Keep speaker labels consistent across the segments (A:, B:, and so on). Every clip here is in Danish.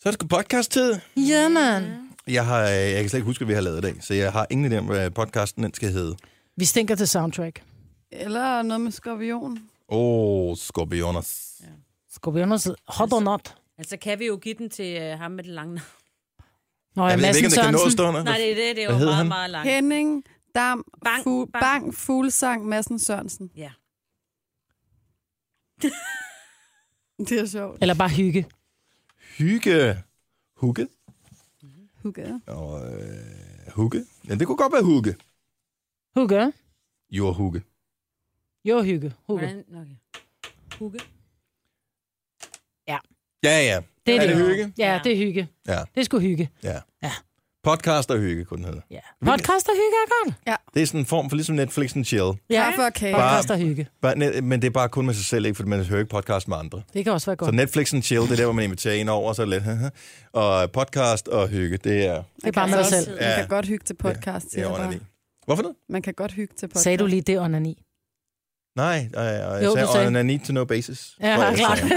A: Så er det sgu podcast-tid.
B: Ja, mand.
A: Jeg, har, øh, jeg kan slet ikke huske, hvad vi har lavet i dag, så jeg har ingen idé om, hvad podcasten den skal hedde.
C: Vi stinker til soundtrack.
B: Eller noget med skorpion.
A: Åh, oh, Skorpioners.
C: Skorpioners hot or not.
D: Altså, kan vi jo give den til øh, ham med det lange navn.
C: Nå,
A: Jeg ved ikke, om det kan nå at stå under.
D: Nej, det er det. Det
A: Hvad
D: er jo
A: hed
D: meget,
A: han?
D: meget langt.
B: Henning, Dam,
D: Bang,
B: bang, fu-
D: bang.
B: bang. bang, Fuglsang, Madsen Sørensen.
D: Ja.
B: Det er sjovt.
C: Eller bare hygge.
A: Hygge. Hugge.
B: Okay.
A: Og, øh, hugge. Ja, det kunne godt være hugge.
C: Hygge.
A: Jo, hugge.
C: Jo, hygge. Hygge.
D: Hvordan? Okay. Hugge.
A: Ja, ja.
C: Det
A: Er det
C: det.
A: hygge?
C: Ja, det er hygge.
A: Ja.
C: Det er sgu hygge.
A: Podcast og hygge, kunne den hedde.
C: Ja. Podcast og hygge er godt.
A: Det er sådan en form for ligesom Netflix and chill.
C: Ja.
B: Kaffe og kage.
A: Bare-
C: Podcast og hygge.
A: Bare net- Men det er bare kun med sig selv, ikke? Fordi man hører ikke podcast med andre.
C: Det kan også være
A: Så
C: godt.
A: Netflix and chill, det er der, hvor man inviterer en over, og så er det lidt. og podcast og hygge, det er,
C: Det er bare med dig selv.
B: Man
A: Ja.
B: kan godt hygge til podcast,
A: det
B: siger
A: er
B: jeg
A: onani.
B: bare.
A: Hvorfor det?
B: Man kan godt hygge til podcast.
C: Sagde du lige det under 9?
A: Nej, øh, og jeg, og jeg
C: Jo,
A: jo,
C: du
A: sagde,
C: sagde-
A: on a need to know basis.
C: Ja,
A: tror jeg, jeg
C: klart.
A: sagde.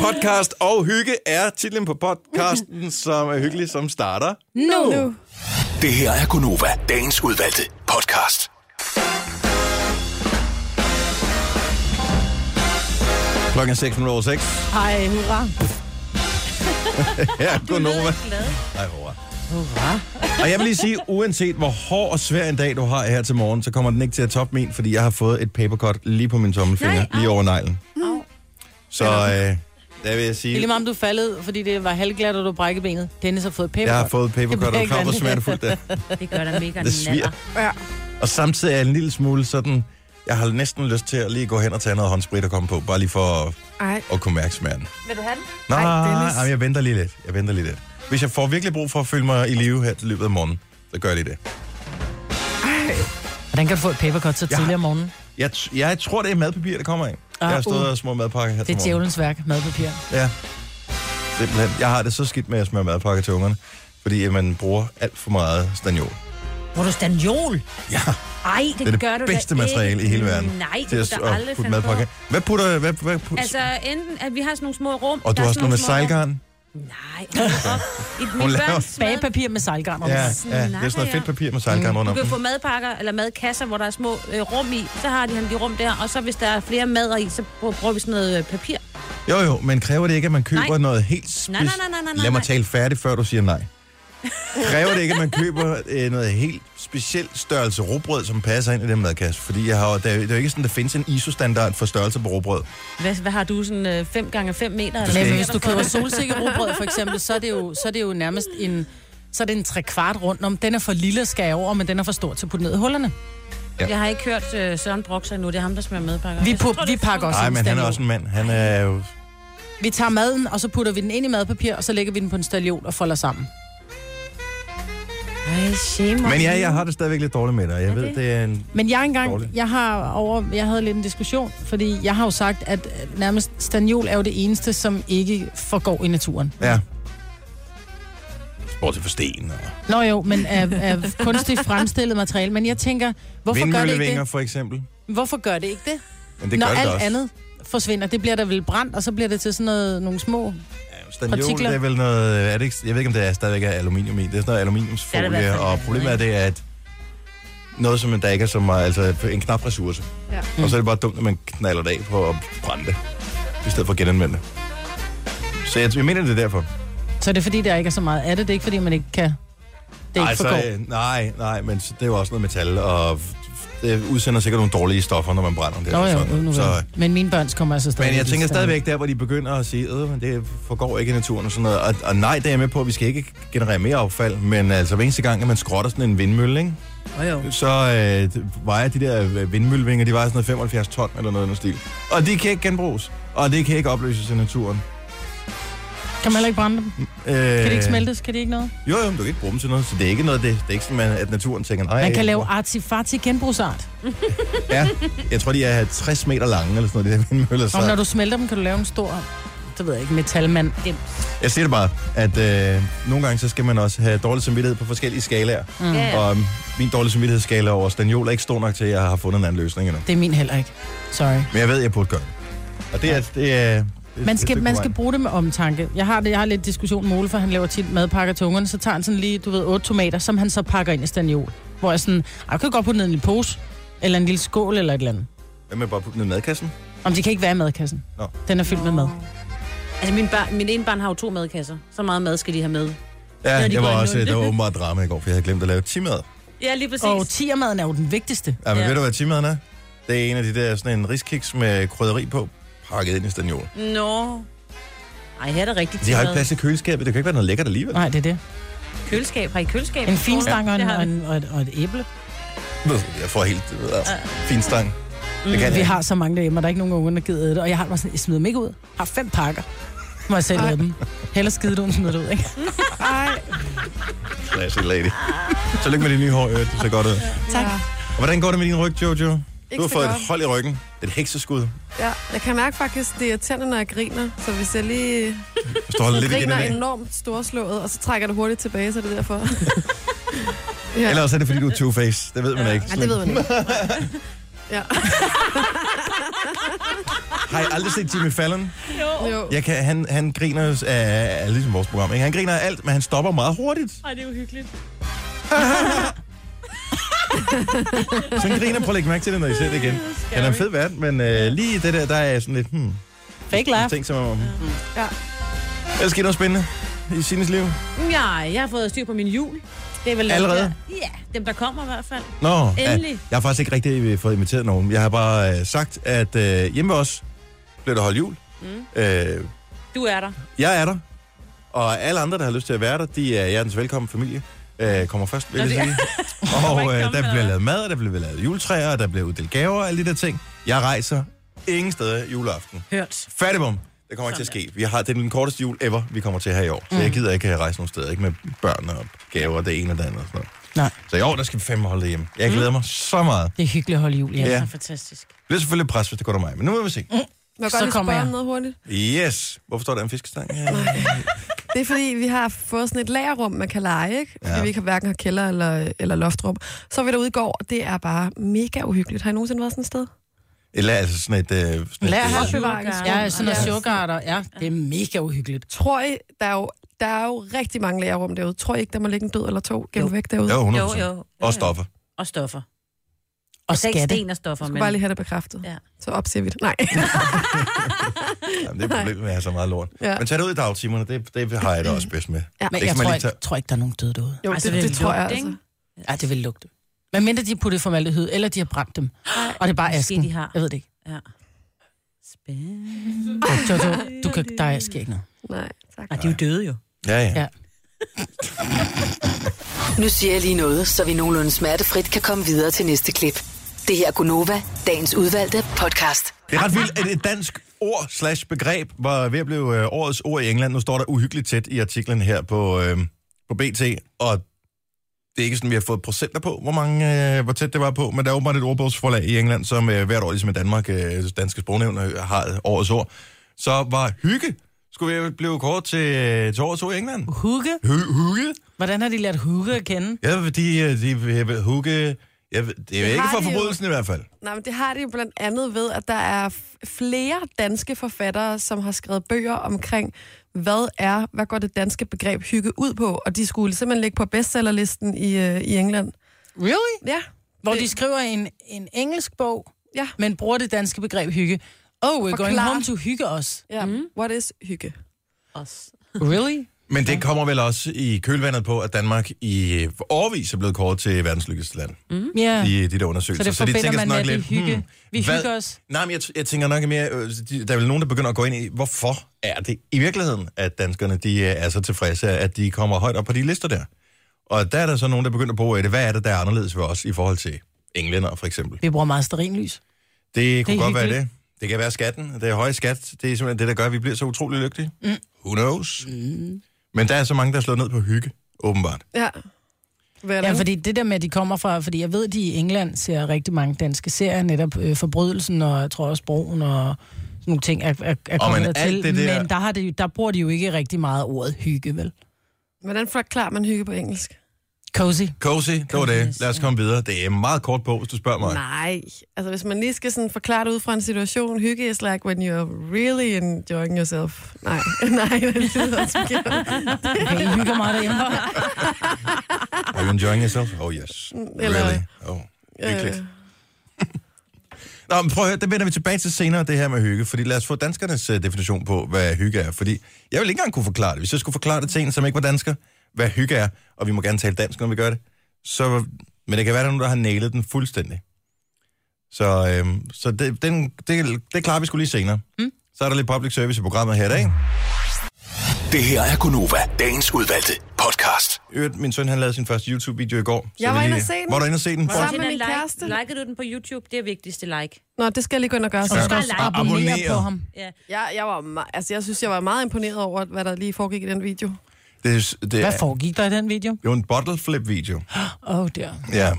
A: Podcast og hygge er titlen på podcasten, som er hyggelig, som starter.
C: Nu!
B: Nu.
E: Det her er Gunova, dagens udvalgte podcast.
A: Klokken er 6.06.
C: Ej, hurra.
A: Ja, godnova.
D: Glad.
A: Ej, hurra.
C: Hurra.
A: Og jeg vil lige sige, uanset hvor hård og svær en dag du har her til morgen, så kommer den ikke til at toppe min, fordi jeg har fået et papercut lige på min tommelfinger,
D: Nej,
A: Nej,
D: au.
A: lige over neglen.
D: Au.
A: Så øh, der vil jeg
C: Det er
A: sige,
C: lige meget, om du faldet, fordi det var halvglat, og du brækkede benet. Dennis har fået paper.
A: jeg har fået
C: Det bliver
A: papercut, og
C: ikke
A: klar, hvor
C: vanligt.
A: smertefuldt det er.
D: Det gør da mega
A: Det sviger.
D: naller.
B: Ja.
A: Og samtidig er jeg en lille smule sådan, jeg har næsten lyst til at lige gå hen og tage noget håndsprit og komme på, bare lige for at,
B: Ej,
A: at kunne mærke smerten.
D: Vil du have den?
A: Nej,
B: Dennis.
A: nej, jeg venter lige lidt. Jeg venter lige lidt. Hvis jeg får virkelig brug for at føle mig i live her til løbet af morgenen, så gør jeg lige det.
C: Hvordan kan du få et papercut så
A: Jeg har-
C: tidligere om morgenen?
A: Jeg, t- jeg tror, det er madpapir, der kommer ind.
C: Ah,
A: Jeg har stået
C: uh.
A: og små madpakker her
C: Det
A: til
C: er
A: morgen.
C: djævelens værk, madpapir.
A: Ja. Simpelthen. Jeg har det så skidt med at smøre madpakker til ungerne, fordi at man bruger alt for meget stagnol.
D: Bruger du stanjol?
A: Ja,
D: Ej, det,
A: det er det
D: gør du da
A: bedste materiale i
D: ikke.
A: hele verden.
D: Nej, det
A: til
D: kunne
A: at,
D: du da
A: at
D: aldrig
A: putte
D: finde på.
A: madpakker. Hvad putter... Hvad, hvad putter?
D: Altså, enten at vi har sådan nogle små rum.
A: og du
D: der er
A: har sådan noget med
D: små rum.
A: sejlgarn?
D: Nej, hold nu op. I
A: Hun
D: mit
A: laver-
D: børns mad,
C: Bagepapir med sejlgarn om.
A: Ja, ja,
C: Ja.
A: det er sådan noget
D: snakker
A: fedt
D: jeg?
A: papir med sejlgarn rundt
D: Du
A: om.
D: kan få madpakker eller madkasser, hvor der er små øh, rum i. Så har de han de rum der, og så hvis der er flere mader i, så br- bruger vi sådan noget øh, papir.
A: Jo, jo, men kræver det ikke, at man køber
D: Nej.
A: noget helt spids...
D: Nej, nej, nej, nej, nej, nej.
A: Lad mig tale færdigt, før du siger nej. Kræver det ikke, at man køber øh, noget helt specielt størrelse råbrød, som passer ind i den madkasse? Fordi jeg har, jo- der, er jo- det er jo ikke sådan, der findes en ISO-standard for størrelse på råbrød.
D: Hvad, hvad har du, sådan øh, 5 gange 5 meter?
A: skal
D: hvad?
C: Men
A: ikke-
C: hvis du køber solsikkerbrugbrød, for eksempel, så er det jo, så er det jo nærmest en... Så er det en trekvart rundt om. Den er for lille, skal jeg over, men den er for stor til at putte ned i hullerne.
D: Jeg har ikke hørt øh, Søren Broxer nu, det er ham, der smører madpakker.
C: Vi,
D: Jeg synes,
C: pu-
D: tror, det
C: vi
D: er
C: pakker også
A: Nej,
C: en
A: men han er
C: stagnol.
A: også en mand. Han er jo...
C: Vi tager maden, og så putter vi den ind i madpapir, og så lægger vi den på en staljon og folder sammen.
D: Ej, shame on
A: Men ja,
D: you.
A: jeg har det stadigvæk lidt dårligt med dig. Jeg ved,
D: det?
A: det er en...
C: Men jeg engang,
A: Dårligt.
C: jeg har over, jeg havde lidt en diskussion, fordi jeg har jo sagt, at øh, nærmest stagnol er jo det eneste, som ikke forgår i naturen.
A: Ja. Bortset for sten og
C: Nå jo, men af, af kunstigt fremstillet materiale. Men jeg tænker, hvorfor gør det ikke
A: vindmøllevinger,
C: det?
A: for eksempel.
C: Hvorfor gør det ikke det?
A: Men det
C: Når
A: gør det
C: alt
A: også.
C: andet forsvinder, det bliver der vel brændt, og så bliver det til sådan noget, nogle små...
A: Stagnol,
C: Partikler.
A: det er vel noget... øh, Er det ikke, jeg ved ikke, om det er stadigvæk er aluminium i. Det er sådan noget aluminiumsfolie,
D: Det er det i hvert fald,
A: og
D: ja.
A: problemet er det, at noget, som der ikke er så meget, altså en knap ressource.
B: Ja.
A: Og så er det bare dumt, at man knaller det af for at brænde det, i stedet for at genanvende det. Så jeg, jeg mener, det er derfor.
C: Så er det fordi, der ikke er så meget af det. Det er ikke fordi, man ikke kan... Det ikke forgår.
A: øh, nej, nej, men det er jo også noget metal, og det udsender sikkert nogle dårlige stoffer, når man brænder det.
C: Nå
A: og
C: jo,
A: sådan noget.
C: nu,
A: så,
C: så... Men mine børn kommer altså stadig.
A: men jeg tænker stadigvæk der, hvor de begynder at sige, øh, men det forgår ikke i naturen og sådan noget. Og, og nej, det er jeg med på, at vi skal ikke generere mere affald, men altså hver eneste gang, at man skrotter sådan en vindmølle, ikke?
D: Jo, jo.
A: så øh, vejer de der øh, vindmøllevinger, de vejer sådan noget 75 ton eller noget i den stil. Og de kan ikke genbruges, og det kan ikke opløses i naturen.
C: Kan man heller ikke brænde dem?
A: Øh,
C: Kan de ikke smeltes? Kan de ikke noget?
A: Jo, jo, men du kan ikke bruge dem til noget, så det er ikke noget, det, det er ikke sådan, man- at naturen tænker, nej.
C: Man kan lave artifarti genbrugsart.
A: Ja, jeg tror, de er 60 meter lange, eller sådan noget, de der vindmøller.
C: Og når
A: Så
C: du smelter dem, kan du lave en stor... Det ved jeg ikke, metalmand.
A: jeg siger det bare, at øh, nogle gange, så skal man også have dårlig samvittighed på forskellige skalaer. Mm.
D: Ja, ja.
A: Og øhm, min dårlige samvittighedsskala over Staniol er ikke stor nok til, at jeg har fundet en anden løsning endnu.
C: Det er min heller ikke. Sorry.
A: Men jeg ved, at jeg burde gøre det. Og det er, det er, et-
C: Man
A: et
C: skal,
A: stykke
C: man
A: vej.
C: skal bruge det med omtanke. Jeg har, det, jeg har lidt diskussion med Ole, for han laver tit madpakker til ungerne. Så tager han sådan lige, du ved, otte tomater, som han så pakker ind i staniol. Hvor jeg sådan, "Ej, du kan godt putte ned i en pose, eller en lille skål, eller et eller andet.
A: Hvad med bare at putte den i madkassen?
C: Om de kan ikke være i madkassen.
A: Nå.
C: Den er fyldt med mad.
D: Altså, min, bar, min ene barn har jo to madkasser. Så meget mad skal de have med.
A: Ja,
D: de
A: jeg
D: går
A: var
D: i
A: også,
D: nul.
A: der var åbenbart drama i går, for jeg havde glemt at lave timad.
D: Ja, lige præcis.
C: Og tiermaden er jo den vigtigste.
A: Ja, men
D: Ja.
A: ved du, hvad timaden er? Det er en af de der, sådan en riskiks med krydderi på, pakket ind i stagnol.
D: Nå. Ej, her er det rigtigt.
A: De har ikke
D: tilfælde.
A: plads til køleskabet, det kan ikke være noget lækkert alligevel.
C: Nej, det er det.
D: Køleskab. Har I køleskab?
C: En finstang og, en,
D: Det har
C: og,
D: vi.
C: en, og, et, og et æble.
A: Jeg får helt øh, fin stang. Det kan
C: Mm, Vi
A: jeg.
C: har så mange derhjemme, og der er ikke nogen unge, der gider det. Og jeg har det bare sådan, jeg smider dem ikke ud. Jeg har fem pakker. Må jeg selv have dem. Heller skide du, end smide det ud, ikke?
B: Ej,
A: Classy lady. Tillykke med de nye hår, øh, det ser godt ud.
B: tak.
A: Og hvordan går det med din ryg, Jojo? Du har
B: så
A: fået et
B: godt.
A: hold i ryggen. Det er et hekseskud.
B: Ja, jeg kan mærke faktisk, det er tænder, når jeg griner. Så hvis jeg lige
A: Hvis du holder lidt igen i
B: griner
A: dag.
B: enormt storslået, og så trækker det hurtigt tilbage, så er det derfor. ja.
A: Eller også er det, fordi du er two-face. Det ved man ikke.
B: Ej, det ved man ikke. ja.
A: Har I aldrig set Jimmy Fallon?
B: Jo.
A: Jeg kan, han, han griner jo af, af, ligesom vores program. Ikke? Han griner af alt, men han stopper meget hurtigt.
D: Ej, det er uhyggeligt.
A: Så han griner. Prøv at lægge mærke til det, når I ser det igen. Han er en fed vært, men øh, lige det der, der er sådan lidt... Hmm,
C: Fake laugh.
A: ting som om...
B: Ja.
A: Ellers sker noget spændende i Sines liv.
D: Mm, Ja, jeg har fået styr på min jul. Det er vel
A: Allerede?
D: Der. Ja, dem der kommer i hvert fald.
A: Nå, ja.
D: Endelig.
A: jeg har faktisk ikke rigtig øh, fået inviteret nogen. Jeg har bare øh, sagt, at øh, hjemme hos os blev der holdt jul. Mm. Øh,
D: Du er der.
A: jeg er der, og alle andre, der har lyst til at være der, de er hjertens velkommen familie. Øh, kommer først, vil jeg
D: det-
A: sige.
D: må ikke
A: Og
D: komme,
A: øh, der
D: eller
A: bliver
D: hvad?
A: lavet mad, og der bliver lavet juletræer, og der bliver uddelt gaver og alle de der ting. Jeg rejser ingen steder juleaften.
D: Hørt.
A: Fattigbom. Det kommer ikke til at ske. Vi har, det er den korteste jul ever, vi kommer til her i år. Så jeg gider ikke øh, rejse nogen steder. Ikke med børn og gaver og det ene og det andet. Og sådan noget.
C: Nej,
A: Så i år, der skal vi fandme holde det hjemme. Jeg glæder mig så meget.
C: det er hyggeligt at holde jul, ja.
A: Ja.
D: Ja. Så fantastisk.
A: Det bliver selvfølgelig et pres, hvis det går til mig. Men nu må vi se.
B: Må jeg
C: Så
B: godt lige
C: kommer
B: spørge
C: jeg.
B: om noget hurtigt?
A: Yes. Hvorfor står der en fiskestang? Ja.
B: Det er fordi, vi har fået sådan et lagerrum, man kan lege, ikke? Fordi
A: Ja.
B: ja. vi ikke har hverken har kælder eller, eller loftrum. Så er vi derude i går, og det er bare mega uhyggeligt. Har I nogensinde været sådan et sted?
A: Eller altså sådan et... Øh, sådan et
C: Lagerhal.
A: øh,
C: Ja, sådan noget sugarter. Ja, det er mega uhyggeligt.
B: Tror I, der er jo, der er jo rigtig mange lagerrum derude. Tror I ikke, der må ligge en død eller to gemt væk derude?
A: jo, 100%.
D: Jo, jo.
A: Og stoffer.
D: Og stoffer.
C: Og
D: Det er ikke
C: skatte.
D: sten og stoffer,
B: Jeg
D: men...
B: skal bare lige have det bekræftet.
D: Ja.
B: Ja. Så opsiger vi det. Nej.
A: Jamen, det er problemet med at have så meget lort.
B: Ja.
A: Men tag det ud i dagtimerne, det, det har jeg det også bedst med.
B: Ja.
C: Men
A: Det
C: jeg
A: kan man
C: tror,
A: lige tage-
C: ikke, tror ikke, der er nogen døde derude.
B: Jo, altså,
D: Altså, det
B: det,
D: er
B: det, det tror jeg
D: lugt,
B: altså.
D: ikke?
C: Ja, det vil lugte. Men mindre de har puttet formaldehyd, eller de har brændt dem. Og det er bare
D: Måske
C: asken.
D: de har.
C: Jeg ved det ikke.
D: Ja. Spændende.
C: Jojo, du kan, der sker ikke noget.
B: Nej, tak.
D: Og de er jo døde jo.
A: Ja, ja.
C: Ja.
F: Nu siger jeg lige noget, så vi nogenlunde smertefrit kan komme videre til næste klip. Det her er Gunova, dagens udvalgte podcast.
A: Det er ret vildt, at et dansk ord slash begreb var ved at blive øh, årets ord i England. Nu står der uhyggeligt tæt i artiklen her på, øh, på BT, og det er ikke sådan, vi har fået procenter på, hvor, mange, øh, hvor tæt det var på, men der er åbenbart et ordbogsforlag i England, som øh, hvert år, ligesom i Danmark, øh, danske sprognævn øh, har årets ord. Så var hygge, skulle vi blive kort til, øh, til årets ord i England.
C: Hugge.
A: Hy- hygge?
C: Hvordan har de lært hugge at kende?
A: Ja, fordi øh, de jeg ved, hugge... Jeg ved, det er jo ikke
B: har
A: for
B: de jo.
A: forbrydelsen i hvert fald.
B: Nej, men det har de jo blandt andet ved, at der er f- flere danske forfattere, som har skrevet bøger omkring, hvad er, hvad går det danske begreb hygge ud på, og de skulle simpelthen ligge på bestsellerlisten i, øh, i England.
C: Really?
B: Ja,
C: Hvor de skriver en, en engelsk bog,
B: ja,
C: men bruger det danske begreb hygge. Oh, we're Forklar. going
B: Forklar.
C: home to hygge os.
B: ja. Mm. What is hygge?
D: Os.
C: Really?
A: Men det kommer vel også i kølvandet på, at Danmark i årvis er blevet kåret til verdens lykkeligste land
C: Ja. Yeah.
A: i de der undersøgelser.
C: Så det forbinder
A: tænker
C: man
A: sådan
C: med, at
A: nok hmm,
C: vi hygge- vi
A: hvad-
C: hygger os.
A: Nej, men jeg, t- jeg tænker nok mere, øh, de- der er vel nogen, der begynder at gå ind i, hvorfor er det i virkeligheden, at danskerne de øh, er så tilfredse, at de kommer højt op på de lister der. Og der er der så nogen, der begynder at bruge det. Hvad er det, der er anderledes ved os i forhold til englænder for eksempel?
C: Vi bruger meget sterinlys.
A: Det kunne
C: Det
A: det
C: er
A: godt være
C: hyggeligt.
A: det. Det kan være skatten. Det er høje skat. Det er simpelthen det, der gør, at vi bliver så utrolig lykkelige. Mm. Who knows? Mm. Men der er så mange, der er slået ned på hygge, åbenbart.
B: Ja. Hvad er
C: Ja,
B: det?
C: fordi det der med, at de kommer fra, fordi jeg ved, at de i England ser rigtig mange danske serier, netop øh, Forbrydelsen og jeg tror også Broen og sådan nogle ting er, er, er
A: Og men
C: kommet
A: alt
C: dertil.
A: det der-
C: Men der, har det, jo- der bruger de jo ikke rigtig meget ordet hygge, vel?
B: Hvordan forklarer man hygge på engelsk?
C: Cozy.
A: Cozy, det var det. Lad os komme videre. Det er meget kort på, hvis du spørger mig.
B: Nej, altså hvis man lige skal sådan forklare det ud fra en situation, hygge is like when you're really enjoying yourself. Nej, nej, det lyder også forkert.
C: Okay, I hygger meget derhjemme.
A: Are you enjoying yourself? Oh yes.
B: Eller-
A: Really? Oh, hyggeligt.
B: Øh.
A: Nå, men prøv at høre, det vender vi tilbage til senere, det her med hygge, fordi lad os få danskernes øh, definition på, hvad hygge er, fordi jeg vil ikke engang kunne forklare det. Hvis jeg skulle forklare det til en, som ikke var dansker, hvad hygge er, og vi må gerne tale dansk, når vi gør det, så, men det kan være, der er nogen, der har nailet den fuldstændig. Så, øhm, så det, den, det, det klarer vi skulle lige senere. Mm. Så er der lidt public service i programmet her i dag.
E: Det her er Gonova, dagens udvalgte podcast.
A: I øvrigt, Min søn han lavede sin første YouTube-video i går. så
B: Jeg
A: vi
B: var inde
A: lige-
B: at se den.
A: Var du inde og se den?
B: Sammen
D: Til
B: med
D: den
B: min kæreste.
D: like, likede du den på YouTube? Det er vigtigste like.
B: Nå, det skal jeg lige gå ind og gøre.
C: Og du
B: Så.
C: skal også
D: Ja.
C: abonnere
A: Abonnere.
C: på ham.
D: Ja.
B: Jeg, jeg, var me- altså, jeg synes, jeg var meget imponeret over, hvad der lige foregik i den video.
A: Det, det,
C: Hvad
A: er
C: foregik der i den video?
A: jo en bottle flip-video.
C: Åh, oh, der.
A: Ja.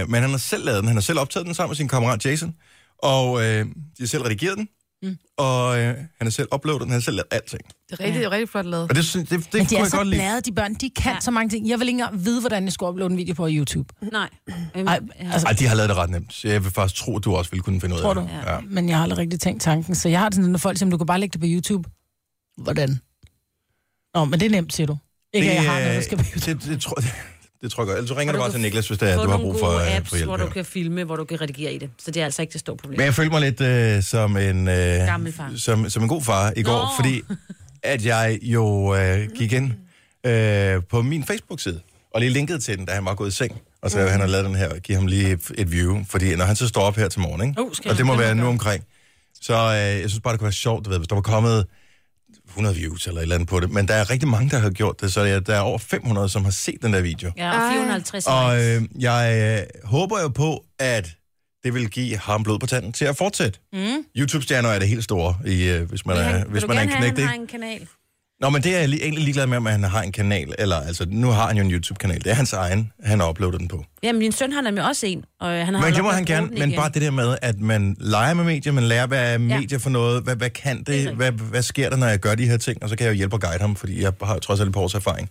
A: Øh, men han har selv lavet den. Han har selv optaget den sammen med sin kammerat Jason. Og øh, de har selv redigeret den. Mm. Og øh, han har selv uploadet den. Han har selv lavet alting.
B: Det er rigtig, ja. rigtig flot lavet.
A: Og det, synes- det, det
C: Men
A: kunne
C: de er
A: jeg
C: så
A: godt lide.
C: blade, de børn. De kan ja. så mange ting. Jeg vil ikke engang vide, hvordan jeg skulle uploade en video på YouTube.
D: Nej. Øhm,
C: Ej, altså,
A: Ej, de har lavet det ret nemt. Så jeg vil faktisk tro, at du også ville kunne finde ud
C: Tror
A: af det.
C: du?
A: Ja.
C: men jeg har aldrig rigtig tænkt tanken. Så jeg har det sådan, når folk siger, du kan bare lægge det på YouTube. Hvordan? Nå, men det er nemt, siger du. Ikke, det, at jeg har noget, der skal på
A: øh,
C: YouTube.
A: det, det, tror, det, det tror jeg godt. Ellers så ringer
D: Og
A: du
D: du
A: bare
D: kan
A: til Niklas, hvis det er,
D: Få
A: du har
D: nogle
A: brug for,
D: gode
A: øh,
D: apps,
A: for hjælp.
D: hvor du
A: her.
D: kan filme, hvor du kan redigere i det. Så det er altså ikke det store problem.
A: Men jeg følte mig lidt øh, som, en, øh,
D: Gammel far.
A: som, som en god far i går,
D: Nå.
A: fordi at jeg jo øh, gik ind øh, på min Facebook-side og lige linkede til den, da han var gået i seng. Og så mm. han har lavet den her, og giver ham lige et, et view, fordi når han så står op her til morgen, ikke?
C: Uh, skal
A: og
C: jeg-
A: det må
C: det må
A: være
C: jeg
A: nu
C: gøre.
A: omkring, så øh, jeg synes bare, det kunne være sjovt, du ved, hvis der var kommet 100 views eller et eller andet på det, men der er rigtig mange, der har gjort det, så der er- der er over 500, som har set den der video.
D: Ja, og 450
A: Og
D: likes.
A: øh, jeg øh, håber jo på, at det vil give ham blod på tanden til at fortsætte. Mm. YouTube-stjerner er det helt store, i, øh, hvis man
D: Vil
A: er,
D: han-
A: hvis
D: vil
A: man
D: du
A: er en
D: gerne have,
A: knægt.
D: han har
A: Ikke?
D: en kanal?
A: Nå, men det er jeg li- egentlig ligeglad med, om han har en kanal. Eller, altså, nu har han jo en YouTube-kanal. Det er hans egen, han har uploadet den på.
D: Jamen, min søn har nemlig også en, og øh, han har
A: Men det
D: holdt
A: må
D: op
A: han
D: med at bruge
A: gerne,
D: den
A: men
D: igen.
A: bare det der med, at man leger med medier, man lærer, hvad er medier for noget, hvad, hvad kan det,
D: rigtigt.
A: hvad, hvad sker der, når jeg gør de her ting, og så kan jeg jo hjælpe og guide ham, fordi jeg har jo trods alt et par års erfaring.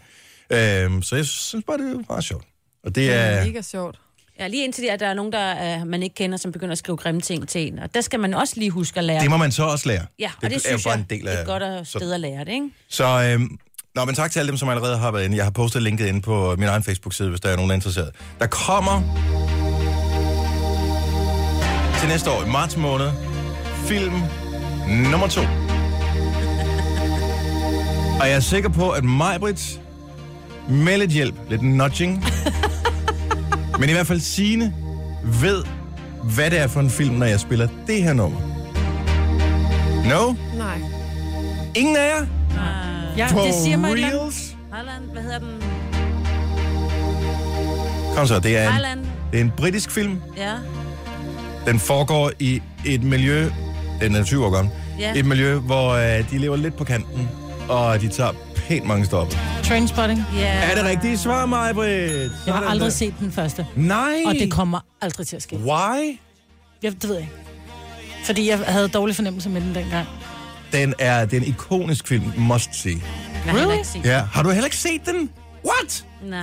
A: Øhm, så jeg synes bare, det er meget sjovt. Og det
B: Det
A: er...
B: er mega sjovt.
D: Ja, lige indtil det, at der er nogen, der uh, man ikke kender, som begynder at skrive grimme ting til en. Og der skal man også lige huske at lære.
A: Det må man så også lære.
D: ja, og det, det
A: er jo
D: synes
A: bare
D: jeg,
A: en del
D: det
A: af
D: er et godt at
A: så
D: sted at lære det, ikke?
A: Så øhm, nå, men tak til alle dem, som allerede har været inde. Jeg har postet linket inde på øh, min egen Facebook-side, hvis der er nogen, der er interesseret. Der kommer til næste år, i marts måned, film nummer to. Og jeg er sikker på, at Majbrit med lidt hjælp, lidt nudging, men i hvert fald Signe ved, hvad det er for en film, når jeg spiller det her nummer. No?
B: Nej.
A: Ingen af jer?
C: Ja,
A: På
C: det siger mig et eller andet.
A: reels?
D: Highland, hvad hedder den?
A: Kom så, det er, en,
D: Highland.
A: det er en britisk film.
D: Ja.
A: Den foregår i et miljø, den er 20 år gammel,
D: Ja.
A: et miljø, hvor øh, de lever lidt på kanten, og de tager pænt mange stopper.
C: Trainspotting.
D: ja.
A: Er det rigtige svar, Majbrit?
C: Jeg har aldrig set den første.
A: Nej!
C: Og det kommer aldrig til at ske.
A: Why?
C: Jeg, det ved jeg ikke. Fordi jeg havde dårlig fornemmelse med den dengang.
A: Den er, det er en ikonisk film, must see.
D: Jeg har heller ikke set.
A: Ja, har du heller ikke set den? What?
D: Nej.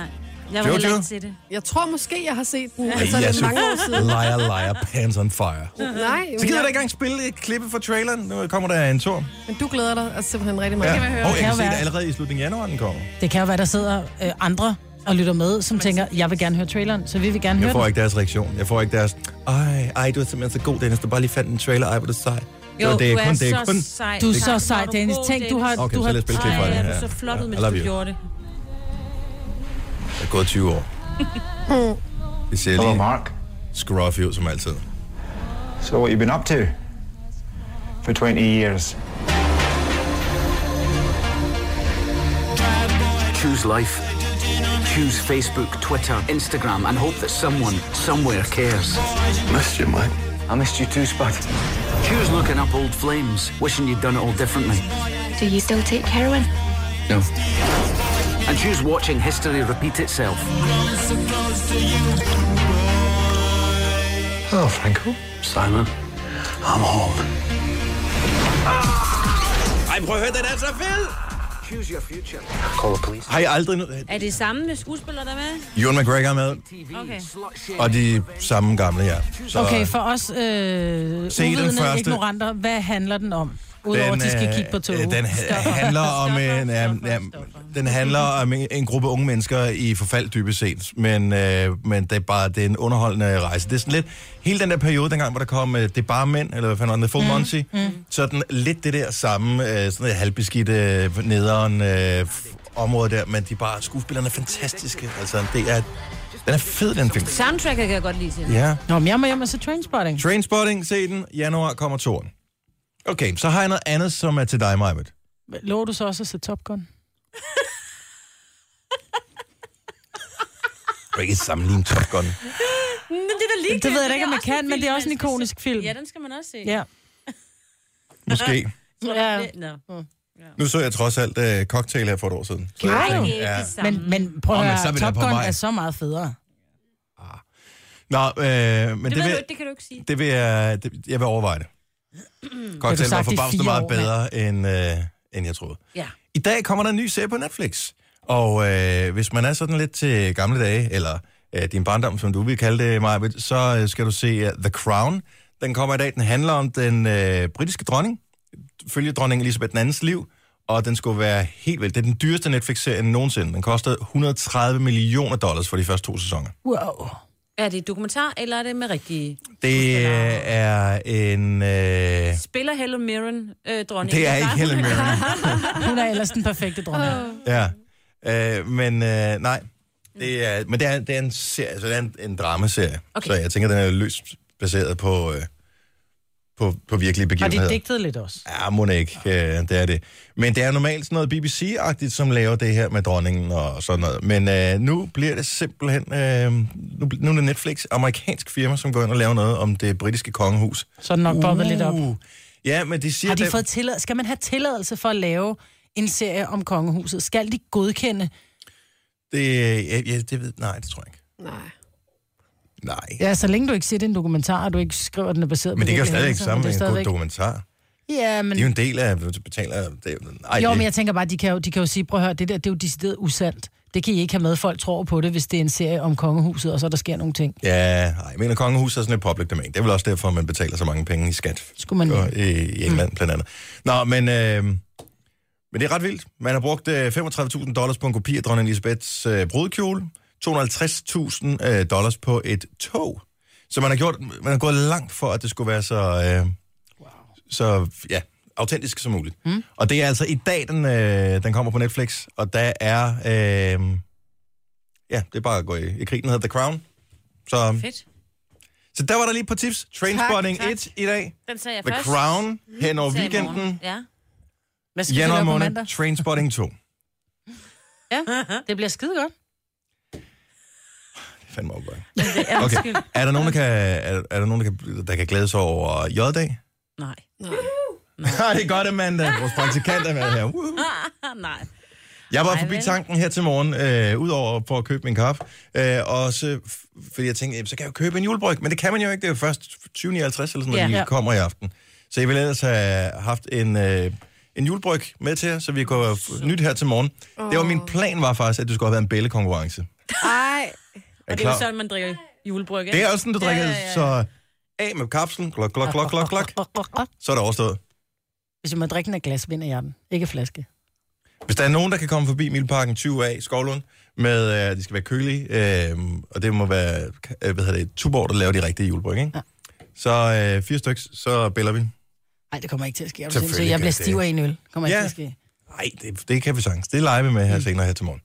D: Jeg vil
A: Jojo?
D: heller ikke se det.
B: Jeg tror måske, jeg har set den, altså det
A: jeg
B: er mange år siden.
A: Liar, liar, pants on fire.
B: Nej,
A: Så gider jeg da ikke engang spille et klippe fra traileren. Nu kommer der en tur.
B: men du glæder dig altså, simpelthen rigtig meget. Ja.
A: Og jeg
C: Kan
A: kan
C: jo
A: se, at
C: være.
A: allerede i slutningen af januar, den kommer.
C: Det kan jo være, der sidder øh, andre og lytter med, som tænker, jeg vil gerne høre traileren, så vi vil gerne
A: Jeg
C: høre
A: får
C: den.
A: ikke deres reaktion. Jeg får ikke deres, ej, ej, du er simpelthen så god, Dennis. Du bare lige fandt en trailer. Ej, hvor er du sej.
D: Jo,
A: Så det er
D: du
A: kun,
D: er
A: det er
D: så
A: kun...
D: sej.
C: Du er
D: Tak,
C: så sej,
D: hvor er
C: Dennis.
D: god,
C: Tænk, du har...
A: Okay,
C: du
A: så
C: har
A: lad os spille klip
D: Ej,
A: fra
D: ja,
A: den
D: du er
A: her.
D: så flot ud,
A: Ja,
D: mens
A: I love
D: du
A: you.
D: gjorde det.
A: Jeg er gået 20 år. Det ser
G: Hello,
A: lige
G: Mark.
A: scruffy ud som altid.
G: So, what you been up to for 20 years?
H: Choose life. Choose Facebook, Twitter, Instagram, and hope that someone, somewhere cares.
E: Missed you, mate.
H: I missed you too, Spud. Choose looking up old flames, wishing you'd done it all differently.
I: Do you still take heroin?
H: No. And choose watching history repeat itself.
E: Hello, Franco.
H: Simon, I'm home.
A: Ej, prøv at høre, den er så fed!
H: Choose your future.
E: Call the police.
A: Har I aldrig... nø-
D: Er det samme skuespiller, der er med?
A: Ewan McGregor er med,
D: Okay.
A: og de samme gamle, ja. Så,
C: Okay, for os øh, uvidende
A: første.
C: ignoranter, hvad handler den om? Udover at de skal
A: øh,
C: kigge på toget.
A: øh, Den ha- handler om en, ja, ja, den handler om en, en gruppe unge mennesker i forfald dybest set, men, øh, men det er bare det er en underholdende rejse. Det er sådan lidt hele den der periode dengang, hvor der kom øh, det er bare mænd eller hvad fanden var det, Full mm. Monty. Mm. Sådan lidt det der samme øh, sådan noget halvbeskidte øh, nederen øh, f- område der, men de er bare skuespillerne er fantastiske. Altså det er den er fed den film.
D: Soundtracket kan jeg godt lide til.
A: Ja.
C: Nå, men jeg må hjem og se Trainspotting.
A: Trainspotting, se den. Januar kommer toren. Okay, så har jeg noget andet, som er til dig, Majbet.
C: Lover du så også at se Top Gun?
A: Du kan ikke sammenligne Top Gun.
D: Men det er da lige
C: Det ved jeg da ikke, om jeg kan, men det er også en ikonisk film.
D: Ja, den skal man også se.
C: Ja.
A: Måske.
C: ja.
D: Nå.
A: Nu så jeg trods alt uh, Cocktail her for et år siden. Så jeg
C: Nej.
A: tænkte, ja.
C: Men, men prøv
A: Nå,
C: at
A: men så er
C: høre,
A: vi da
C: Top
A: på
C: Gun
A: vej.
C: er så meget federe.
A: Nå, øh, men
D: Det,
A: det,
D: ved du
A: vil,
D: ikke, det kan du ikke sige.
A: det vil jeg, det, jeg vil overveje det. Cocktail var
C: sagt i
A: forbavsende
C: fire
A: meget
C: år,
A: bedre, end, øh, end jeg troede.
D: Ja.
A: I dag kommer der en ny serie på Netflix. Og øh, hvis man er sådan lidt til gamle dage, eller øh, din barndom, som du vil kalde det, Maja, så øh, skal du se uh, The Crown. Den kommer i dag. Den handler om den øh, britiske dronning. Følger dronning Elisabeth II's liv. Og den skulle være helt vildt. Det er den dyreste Netflix-serie nogensinde. Den kostede 130 millioner dollars for de første to sæsoner.
C: Wow.
D: Er det dokumentar, eller er det med rigtige?
A: Det er en... Øh,
D: Spiller Helen Mirren øh, dronning?
A: det er ikke
D: Nej,
A: Helen
D: hun-
A: Mirren.
C: Hun er ellers den perfekte dronning.
A: Ja. Øh, men øh, nej. Det er, men det er, det er en serie, altså det er en, en dramaserie.
D: Okay.
A: Så jeg tænker, den er løst baseret på, øh, på, på virkelige
C: Har de
A: begivenheder.
C: digtet lidt også?
A: Ja, må det ikke. Øh, det er det. Men det er normalt sådan noget BBC-agtigt, som laver det her med dronningen og sådan noget. Men øh, nu bliver det simpelthen... Øh, nu, bl- nu er det Netflix, amerikansk firma, som går ind og laver noget om det britiske kongehus.
C: Så er den nok bobbet lidt op.
A: Uh. Ja, men de siger...
C: Har de
A: den-
C: fået tilladelse? Skal man have tilladelse for at lave en serie om kongehuset? Skal de godkende?
A: det, ja, ja, det ved... Nej, det tror jeg ikke.
B: Nej.
A: Nej.
C: Ja, så længe du ikke siger, det er en dokumentar, og du ikke skriver, at den er baseret
A: Men det
C: på
A: kan jo stadig
C: virkeligheden,
A: ikke
C: så
A: sammen
C: er
A: med
C: det
A: en god dokumentar.
C: stadigvæk- Ja, men...
A: Det er jo en del af, du betaler... Det, er, nej,
C: Jo,
A: det,
C: men jeg tænker bare, de kan jo, de kan jo sige, prøv at høre, det der, det er jo decideret usandt. Det kan I ikke have med, folk tror på det, hvis det er en serie om kongehuset, og så der sker nogle ting.
A: Ja, nej, jeg mener, kongehuset er sådan et public domain. Det er vel også derfor, man betaler så mange penge i skat.
C: Skulle man
A: Og, i, i England, mm. blandt andet. Nå, men, øh, men det er ret vildt. Man har brugt øh, 35.000 dollars på en kopi af dronning Elisabeths øh, brudekjole. 250.000 øh, dollars på et tog. Så man har, gjort, man har gået langt for, at det skulle være så, øh, wow. så ja, autentisk som muligt. Mm. Og det er altså i dag, den, øh, den kommer på Netflix, og der er... Øh, ja, det er bare at gå i, i krig. Den hedder The Crown. Så,
D: Fedt.
A: så der var der lige et par tips. Trainspotting
D: Tak, tak.
A: 1 i dag.
D: Den sagde jeg
A: The
D: først.
A: Crown hen over
D: Den sagde jeg i morgen.
A: weekenden.
D: Ja.
C: Hvad skal vi
A: Januar
C: lave på
A: måned,
C: mandag?
A: Trainspotting 2.
C: Det bliver skide godt.
A: Fandme opgøring. Okay. Er der nogen, der kan, er, er der, nogen der, kan, der kan glæde sig over J-dag?
D: Nej.
B: Nej.
A: Nej, det er godt, Amanda. Vores praktikant er med her. Woohoo.
D: Ah, nej.
A: Jeg var
D: Nej,
A: forbi
D: vel.
A: tanken her til morgen, øh, udover for at købe min kaffe. Øh, og så, f- fordi jeg tænkte, jamen, så kan jeg jo købe en julebryg. Men det kan man jo ikke. Det er jo først 20.59 eller sådan noget,
D: Ja.
A: ja,
D: Ja.
A: ja. kommer i aften. Så jeg ville ellers have haft en, øh, en julebryg med til jer, så vi kunne have f- nyt her til morgen. Oh. Det var min plan, var faktisk, at du skulle have været en bællekonkurrence.
B: Ej.
A: Er
D: Og det er jo sådan, man drikker julebryg, ikke?
A: Det er også sådan, du drikker. Ja, ja, ja. Så af med kapslen, klok, klok, klok, klok, klok. Så er det overstået.
C: Hvis man drikker den af glas, vinder jeg den. Ikke af flaske.
A: Hvis der er nogen, der kan komme forbi Mileparken 20A, Skovlund, med, øh, de skal være kølige, øh, og det må være, øh, hvad hedder det, Tuborg, der laver de rigtige julebryg, ikke?
C: Ja.
A: Ja. Så øh, fire stykker, så bæller vi.
C: Nej, det kommer ikke til at ske. Er du
A: Selvfølgelig
C: sindssyg?
A: gør
C: jeg bliver
A: det.
C: stiv af en øl. Kommer ikke
A: Ja.
C: til at ske.
A: Nej, det, det kan vi sagtens. Det leger vi med her senere her til morgen.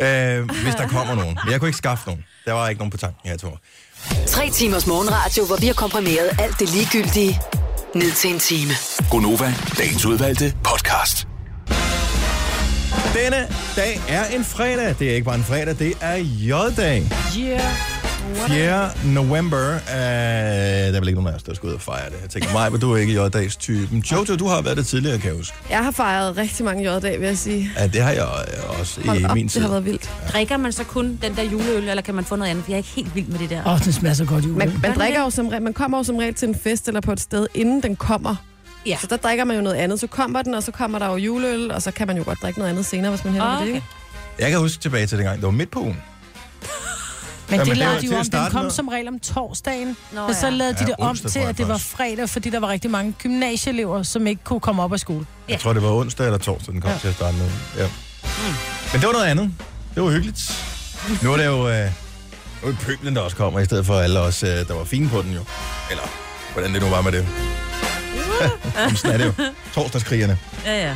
A: Øh, hvis der kommer nogen. Men jeg kunne ikke skaffe nogen. Der var ikke nogen på tanken her til morgen.
F: Tre timers morgenradio, hvor vi har komprimeret alt det ligegyldige ned til en time.
E: Gonova, dagens udvalgte podcast.
A: Denne dag er en fredag. Det er ikke bare en fredag, det er J-dag.
C: Yeah.
A: 4. november. Uh, der er vel ikke nogen af os, der skal ud og fejre det. Jeg tænker, mig, men du er ikke J-dags typen. Jojo, du har været det tidligere, kan jeg huske.
B: Jeg har fejret rigtig mange j-dag, vil jeg sige.
A: Ja, det har jeg øh, også
B: Hold
A: i
B: op,
A: min
B: det
A: tid.
B: har været vildt.
D: Drikker man så kun den der juleøl, eller kan man få noget andet? For jeg er ikke helt vild med det der.
C: Åh, oh, den smager så godt i
B: Man,
C: julen.
B: man, drikker jo som regel, man kommer jo som regel til en fest eller på et sted, inden den kommer.
D: Ja.
B: Så der drikker man jo noget andet. Så kommer den, og så kommer der jo juleøl, og så kan man jo godt drikke noget andet senere, hvis man heller
A: Ah,
B: okay.
D: Okay.
B: vil det. Ikke?
A: Jeg kan huske tilbage til dengang, det var midt på ugen.
C: Men
A: Jamen,
C: det
A: det var
C: lavede de
A: til
C: jo
A: at
C: om. Den
A: starte
C: kom
A: med.
C: som regel om torsdagen.
D: Nå,
C: og så
D: ja.
C: lavede de
A: Ja,
C: det om
A: onsdag,
C: til,
A: tror jeg
C: at det var
A: faktisk.
C: fredag, fordi der var rigtig mange gymnasieelever, som ikke kunne komme op af skole.
A: Jeg tror, det var onsdag eller torsdag, den kom
C: Ja.
A: ja. til at starte med. Ja. Mm. Men det var noget andet. Det var hyggeligt. Nu er det jo øh, nu er det pøblen, der også kommer, i stedet for alle os, øh, der var fine på den jo. Eller hvordan det nu var med det. Jamen, Sådan er det jo. Torsdagskrigerne.
D: Ja, ja.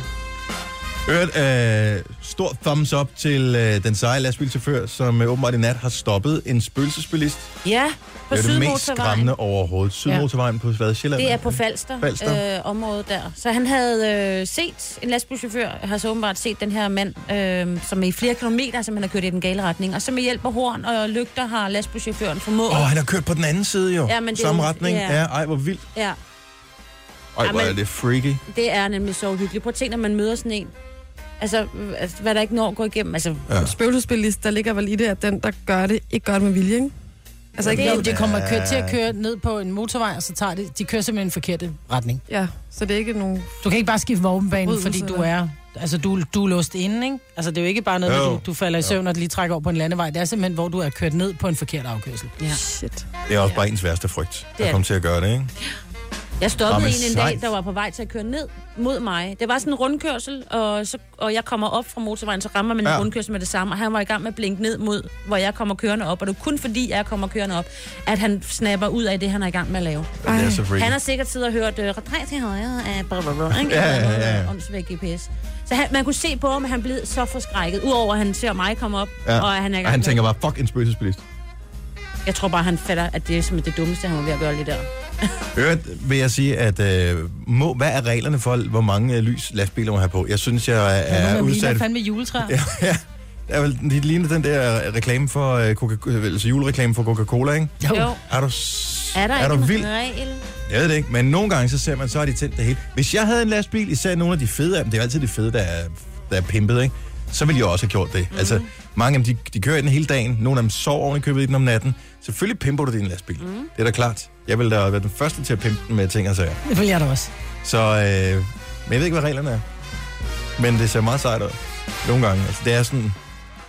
A: Øret, øh, stor thumbs up til øh, den seje lastbilchauffør, som øh, åbenbart i nat har stoppet en spøgelsesbilist.
D: Ja, på
A: det er jo det mest
D: Sydmotorvejen.
A: skræmmende overhovedet. Sydmotorvejen på hvad, Sjælland?
D: Det er på Falster,
A: Falster.
D: Falster. Øh, området der. Så han havde øh, set, en lastbilchauffør har så åbenbart set den her mand, øh, som i flere kilometer, som han har kørt i den gale retning. Og så med hjælp af horn og lygter har lastbilchaufføren formået.
A: Åh, oh, han har kørt på den anden side jo.
D: Ja, men det er
A: Samme
D: jo-
A: retning.
D: ja.
A: Ja. ja, ej, hvor vildt.
D: Ja,
A: Ej,
D: Ja,
A: hvor
D: men-
A: er det freaky.
D: det er nemlig så uhyggeligt. Prøv at tænke, når man møder sådan en. Altså, øh, altså, hvad der ikke når at gå igennem. Altså, ja.
B: Spøgelsesbilist, der ligger vel i det, at den, der gør det, ikke gør det med vilje, ikke? Altså ikke
C: Jo,
B: noget,
C: de kommer kø- til at køre ned på en motorvej, og så tager de, de kører simpelthen i den forkerte retning.
B: ja, så det er ikke nogen...
C: Du kan ikke bare skifte vognbane,
B: Forbrydelse,
C: fordi du
B: eller?
C: er, altså, du, du er låst inde, ikke? Altså, det er jo ikke bare noget,
A: Jo.
C: med, du, du falder i søvn og lige trækker over på en landevej. Det er simpelthen, hvor du er kørt ned på en forkert afkørsel.
D: Ja.
B: Shit.
A: Det er også bare ens værste frygt,
D: er
A: at komme til at gøre det, ikke?
D: Jeg stoppede
A: Nå, men
D: en en dag,
A: sejt.
D: der var på vej til at køre ned mod mig. Det var sådan en rundkørsel, og, så, og jeg kommer op fra motorvejen, så rammer man en
A: Ja.
D: ja. rundkørsel med det samme. Og han var i gang med at blinke ned mod, hvor jeg kommer kørende op. Og det er kun fordi, jeg kommer kørende op, at han snapper ud af det, han er i gang med at lave.
A: Ej. Det er så freaky.
D: Han har sikkert siddet og hørt øh, retræt til højre af blablabla, ikke?
A: Ja, ja, ja, ja.
D: Åndsvæk GPS. Så han, man kunne se på ham, at han blev så forskrækket. Udover at han ser mig komme op, ja. og at han er i gang
A: og han
D: med-
A: tænker bare, fuck en spøgelsesbilist.
D: Jeg tror bare, han fatter, at det er som det dummeste, han var ved at gøre lige der.
A: Øvrigt vil jeg sige, at øh, må, hvad er reglerne for, hvor mange øh, lys lastbiler må have på? Jeg synes, jeg er,
C: Ja,
A: er
C: Nogle af mine er
A: udsat.
C: fandme juletræer.
A: Ja, ja. Det er vel det ligner den der reklame for øh, Coca altså julereklame for Coca-Cola, ikke?
D: Jo.
A: Er du, s-
D: Er der
A: er
D: ikke
A: du
D: en
A: vild?
D: regel?
A: Jeg ved det ikke, men nogle gange så ser man, så har de tændt det hele. Hvis jeg havde en lastbil, især nogle af de fede af dem, det er jo altid de fede, der er, der er pimpet, ikke? så ville jeg også have gjort det. Mm-hmm. Altså, mange af dem, de, de kører i den hele dagen, nogle af dem sover oven i købet i den om natten. Selvfølgelig pimper du din lastbil. Mm. Det er da klart. Jeg ville da være den første til at pimpe den med ting og sager.
C: Det vil jeg da også.
A: Så, øh, men jeg ved ikke, hvad reglerne er. Men det ser meget sejt ud. Nogle gange. Altså, det er sådan,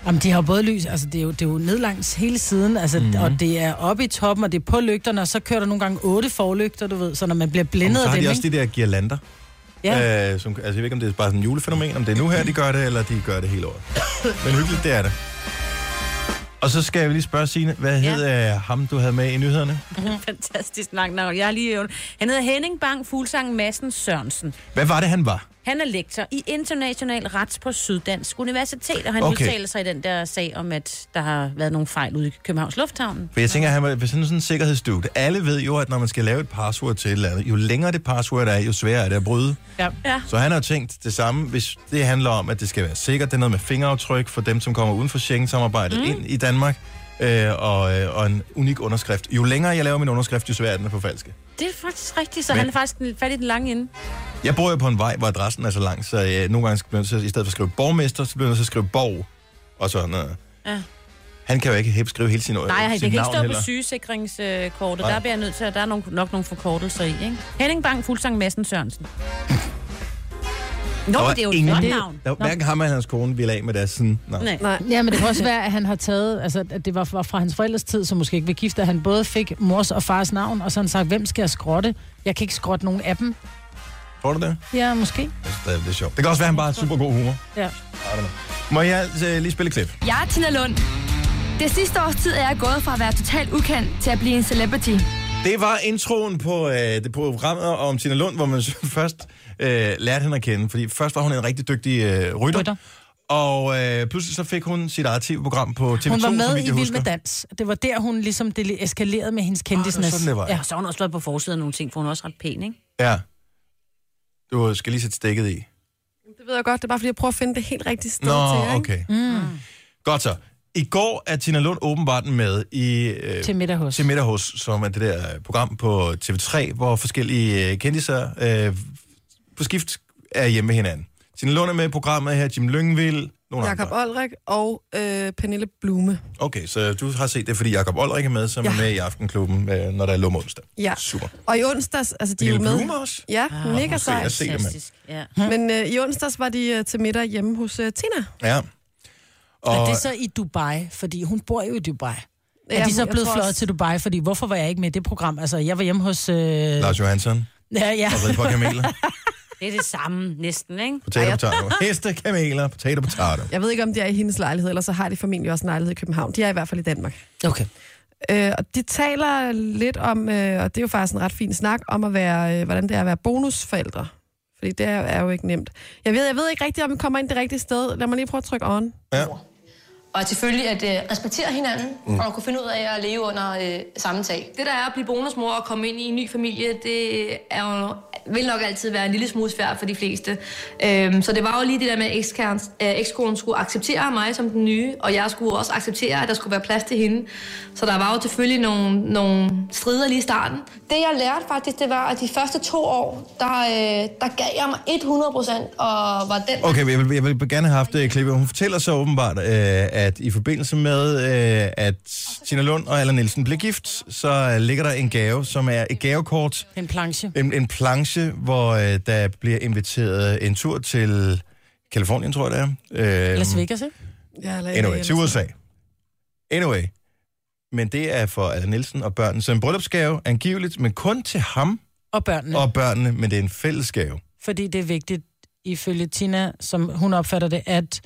C: Jamen, de har jo både lys, altså det er jo, det er jo ned langs hele siden, altså,
A: Mhm.
C: mm-hmm. og det er oppe i toppen, og det er på lygterne, og så kører der nogle gange otte forlygter, du ved, så når man bliver
A: Jamen,
C: blændet
A: så
C: af
A: har
C: dem,
A: de
C: de
A: også
C: ikke?
A: de der girlander.
C: Ja.
A: Øh, som, altså, jeg ved ikke, om det er bare sådan et julefænomen, om det er nu her, de gør det, eller de gør det hele året. Men hyggeligt, det er det. Og så skal jeg lige spørge Signe, hvad
D: Ja.
A: hed ja. ham, du havde med i nyhederne?
D: Fantastisk langt navn. Jeg har lige øvet. Han hedder Henning Bang Fuglsang Madsen Sørensen.
A: Hvad var det, han var?
D: Han er lektor i international rets på Syddansk Universitet, og han
A: Okay.
D: okay. udtaler sig i den der sag om, at der har været nogle fejl ude i Københavns Lufthavn.
A: For jeg tænker, han var på sådan sådan en sikkerhedsstudie. Alle ved jo, at når man skal lave et password til et eller andet, jo længere det password er, jo sværere er det at bryde.
C: Ja.
D: Ja.
A: Så han har tænkt det samme, hvis det handler om, at det skal være sikkert. Det er noget med fingeraftryk for dem, som kommer uden for Schengen-samarbejdet mm. ind i Danmark. Øh, og, øh, og en unik underskrift. Jo længere jeg laver min underskrift, jo sværere er den at forfalske.
D: Det er faktisk rigtigt, så
A: Men- Øh,
D: Men... han er faktisk den- fat i den lange ende.
A: Jeg bor jo på en vej, hvor adressen er så lang, så jeg nogle gange bliver nødt til, at- i stedet for at skrive borgmester, så bliver jeg nødt til at skrive borg. Og sådan noget.
D: Ja.
A: Han kan jo ikke helt skrive hele sin,
D: Nej, han
A: sin
D: det kan ikke
A: navn
D: stå heller.
A: heller.
D: på sygesikringskortet.
A: Nej.
D: Der bliver jeg nødt til, at der er nogle, nok nogle forkortelser i. Ikke? Henning Bang Fuglsang Madsen Sørensen. Nå,
A: Der
D: men
A: var
D: det er jo et
A: ingen,
D: godt navn.
A: Der,
D: Nå.
A: hverken ham eller hans kone ville af med deres øh, sådan... Nej.
D: Nej.
B: Nej.
C: Ja, men det kan også være, at han har taget, altså at det var fra, fra hans forældres tid, som måske ikke blev gift, at han både fik mors og fars navn, og så har han sagt, hvem skal jeg skrotte? Jeg kan ikke skrotte nogen af dem.
A: Tror du det?
C: Ja, måske.
A: Jeg synes, det er lidt sjovt. Det kan også være, at han bare har super god humor.
C: Ja.
A: Må jeg altså lige spille et klip?
J: Jeg er Tina Lund. Det sidste års tid er jeg gået fra at være totalt ukendt til at blive en celebrity.
A: Det var introen på øh, det på programmet om Tina Lund, hvor man så først øh, lærte hende at kende. Fordi først var hun en rigtig dygtig øh, rytter.
C: Rytter.
A: Og øh, pludselig så fik hun sit eget tv-program på TV2,
C: Hun var
A: så
C: med
A: vidt
C: i
A: jeg
C: Vild med
A: husker.
C: Dans. Det var der, hun ligesom det eskalerede med hendes
A: Ah, det var
C: kendisnes.
A: sådan, det var.
C: Ja.
A: Ja.
D: Og så har hun også slået på forsiden af nogle ting, for hun er også ret pæn, ikke?
A: ja. Du skal lige sætte stikket i.
B: Det ved jeg godt, det er bare fordi, jeg prøver at finde det helt rigtige sted
A: Nå,
B: til jer, ikke?
A: okay. Mm. Godt så. I går er Tina Lund åbenbart med i... Øh,
C: Til middag hos.
A: til middag hos, som er det der øh, program på TV3, hvor forskellige øh, kendtiser øh, på skift er hjemme med hinanden. Tina Lund er med i programmet her, Jim Lyngvild, Nogle
B: Jakob Olrik og øh, Pernille Blume.
A: Okay, så du har set det, fordi Jakob Olrik er med, som ja. er med i Aftenklubben, øh, når der er lum onsdag.
B: Ja.
A: Super.
B: Og i onsdags, altså de er jo
A: Pernille
B: med...
A: Blume også?
B: Ja, ah, mega
A: måske. Jeg
B: sejt.
A: ser det, mand.
D: Ja.
B: Men øh, i onsdags var de øh, til middag hjemme hos øh, Tina.
A: Ja.
C: Og... Er
A: Og
C: det så i Dubai? Fordi hun bor jo i Dubai. Ja, er
B: Ja,
C: de så
B: jeg
C: blevet
B: tror
C: fløjet
B: også-
C: til Dubai? Fordi hvorfor var jeg ikke med i det program? Altså, jeg var hjemme hos... Øh... Ja,
A: Lars Johansson
C: ja.
A: og red på kameler.
D: Det er det samme næsten, ikke?
A: Potato, potato. Heste, kameler, potato, potato.
B: Jeg ved ikke, om det er i hendes lejlighed, eller så har de formentlig også en lejlighed i København. De er i hvert fald i Danmark.
C: Okay.
B: Øh, og de taler lidt om, øh, og det er jo faktisk en ret fin snak, om at være, øh, hvordan det er at være bonusforældre. Fordi det er, er jo ikke nemt. Jeg ved, jeg ved ikke rigtigt, om vi kommer ind det rigtige sted. Lad mig lige prøve at trykke on.
A: Ja.
K: Og selvfølgelig at øh, respektere hinanden, mm. og kunne finde ud af at leve under øh, samme tag. Det der er at blive bonusmor og komme ind i en ny familie, det er jo, vil nok altid være en lille smule svært for de fleste. Øhm, så det var jo lige det der med, at ekskærens- øh, ekskonen skulle acceptere mig som den nye, og jeg skulle også acceptere, at der skulle være plads til hende. Så der var jo selvfølgelig nogle, nogle strider lige i starten. Det jeg lærte faktisk, det var, at de første to år, der, øh, der gav jeg mig 100 procent, og var den,
A: Okay, men jeg vil, jeg vil gerne have haft det klip. Hun fortæller så åbenbart, øh, at i forbindelse med, øh, at Tina Lund og Allan Nielsen blev gift, så øh, ligger der en gave, som er et gavekort.
C: En planche.
A: En, en planche, hvor øh, der bliver inviteret en tur til Kalifornien, tror jeg det er. Øh,
C: Las Vegas, ikke?
B: Ja, eller,
A: Anyway, til USA. Anyway. Men det er for Allan Nielsen og børnene. Så en bryllupsgave, angiveligt, men kun til ham
C: Og børnene.
A: og børnene, men det er en fællesgave.
C: Fordi det er vigtigt, ifølge Tina, som hun opfatter det, at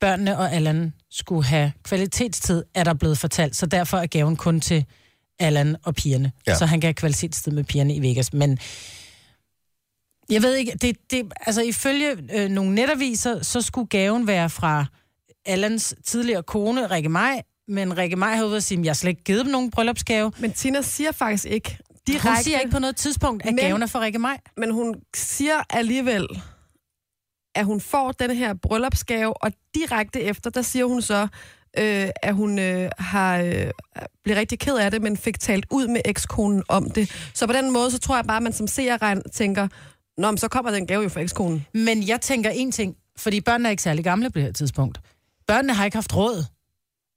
C: børnene og Allan skulle have kvalitetstid, er der blevet fortalt. Så derfor er gaven kun til Allan og pigerne.
A: Ja.
C: Ja. Så han kan have kvalitetstid med pigerne i Vegas. Men jeg ved ikke, det, det, altså ifølge øh, nogle netaviser, så skulle gaven være fra Allans tidligere kone, Rikke Maj, men Rikke Maj havde ude at sige, at jeg har slet ikke givet dem nogen bryllupsgave.
B: Men Tina siger faktisk ikke direkte.
C: Hun siger ikke på noget tidspunkt, at
B: Men-
C: gaven er for Rikke Maj.
B: Men hun siger alligevel, at hun får den her bryllupsgave, og direkte efter, der siger hun så, øh, at hun øh, har øh, bliver rigtig ked af det, men fik talt ud med ekskonen om det. Så på den måde, så tror jeg bare, at man som seer regn- tænker, Nå, men så kommer den gave jo fra ekskonen.
C: Men jeg tænker en ting, fordi børnene er ikke særlig gamle på det her tidspunkt. Børnene har ikke haft råd,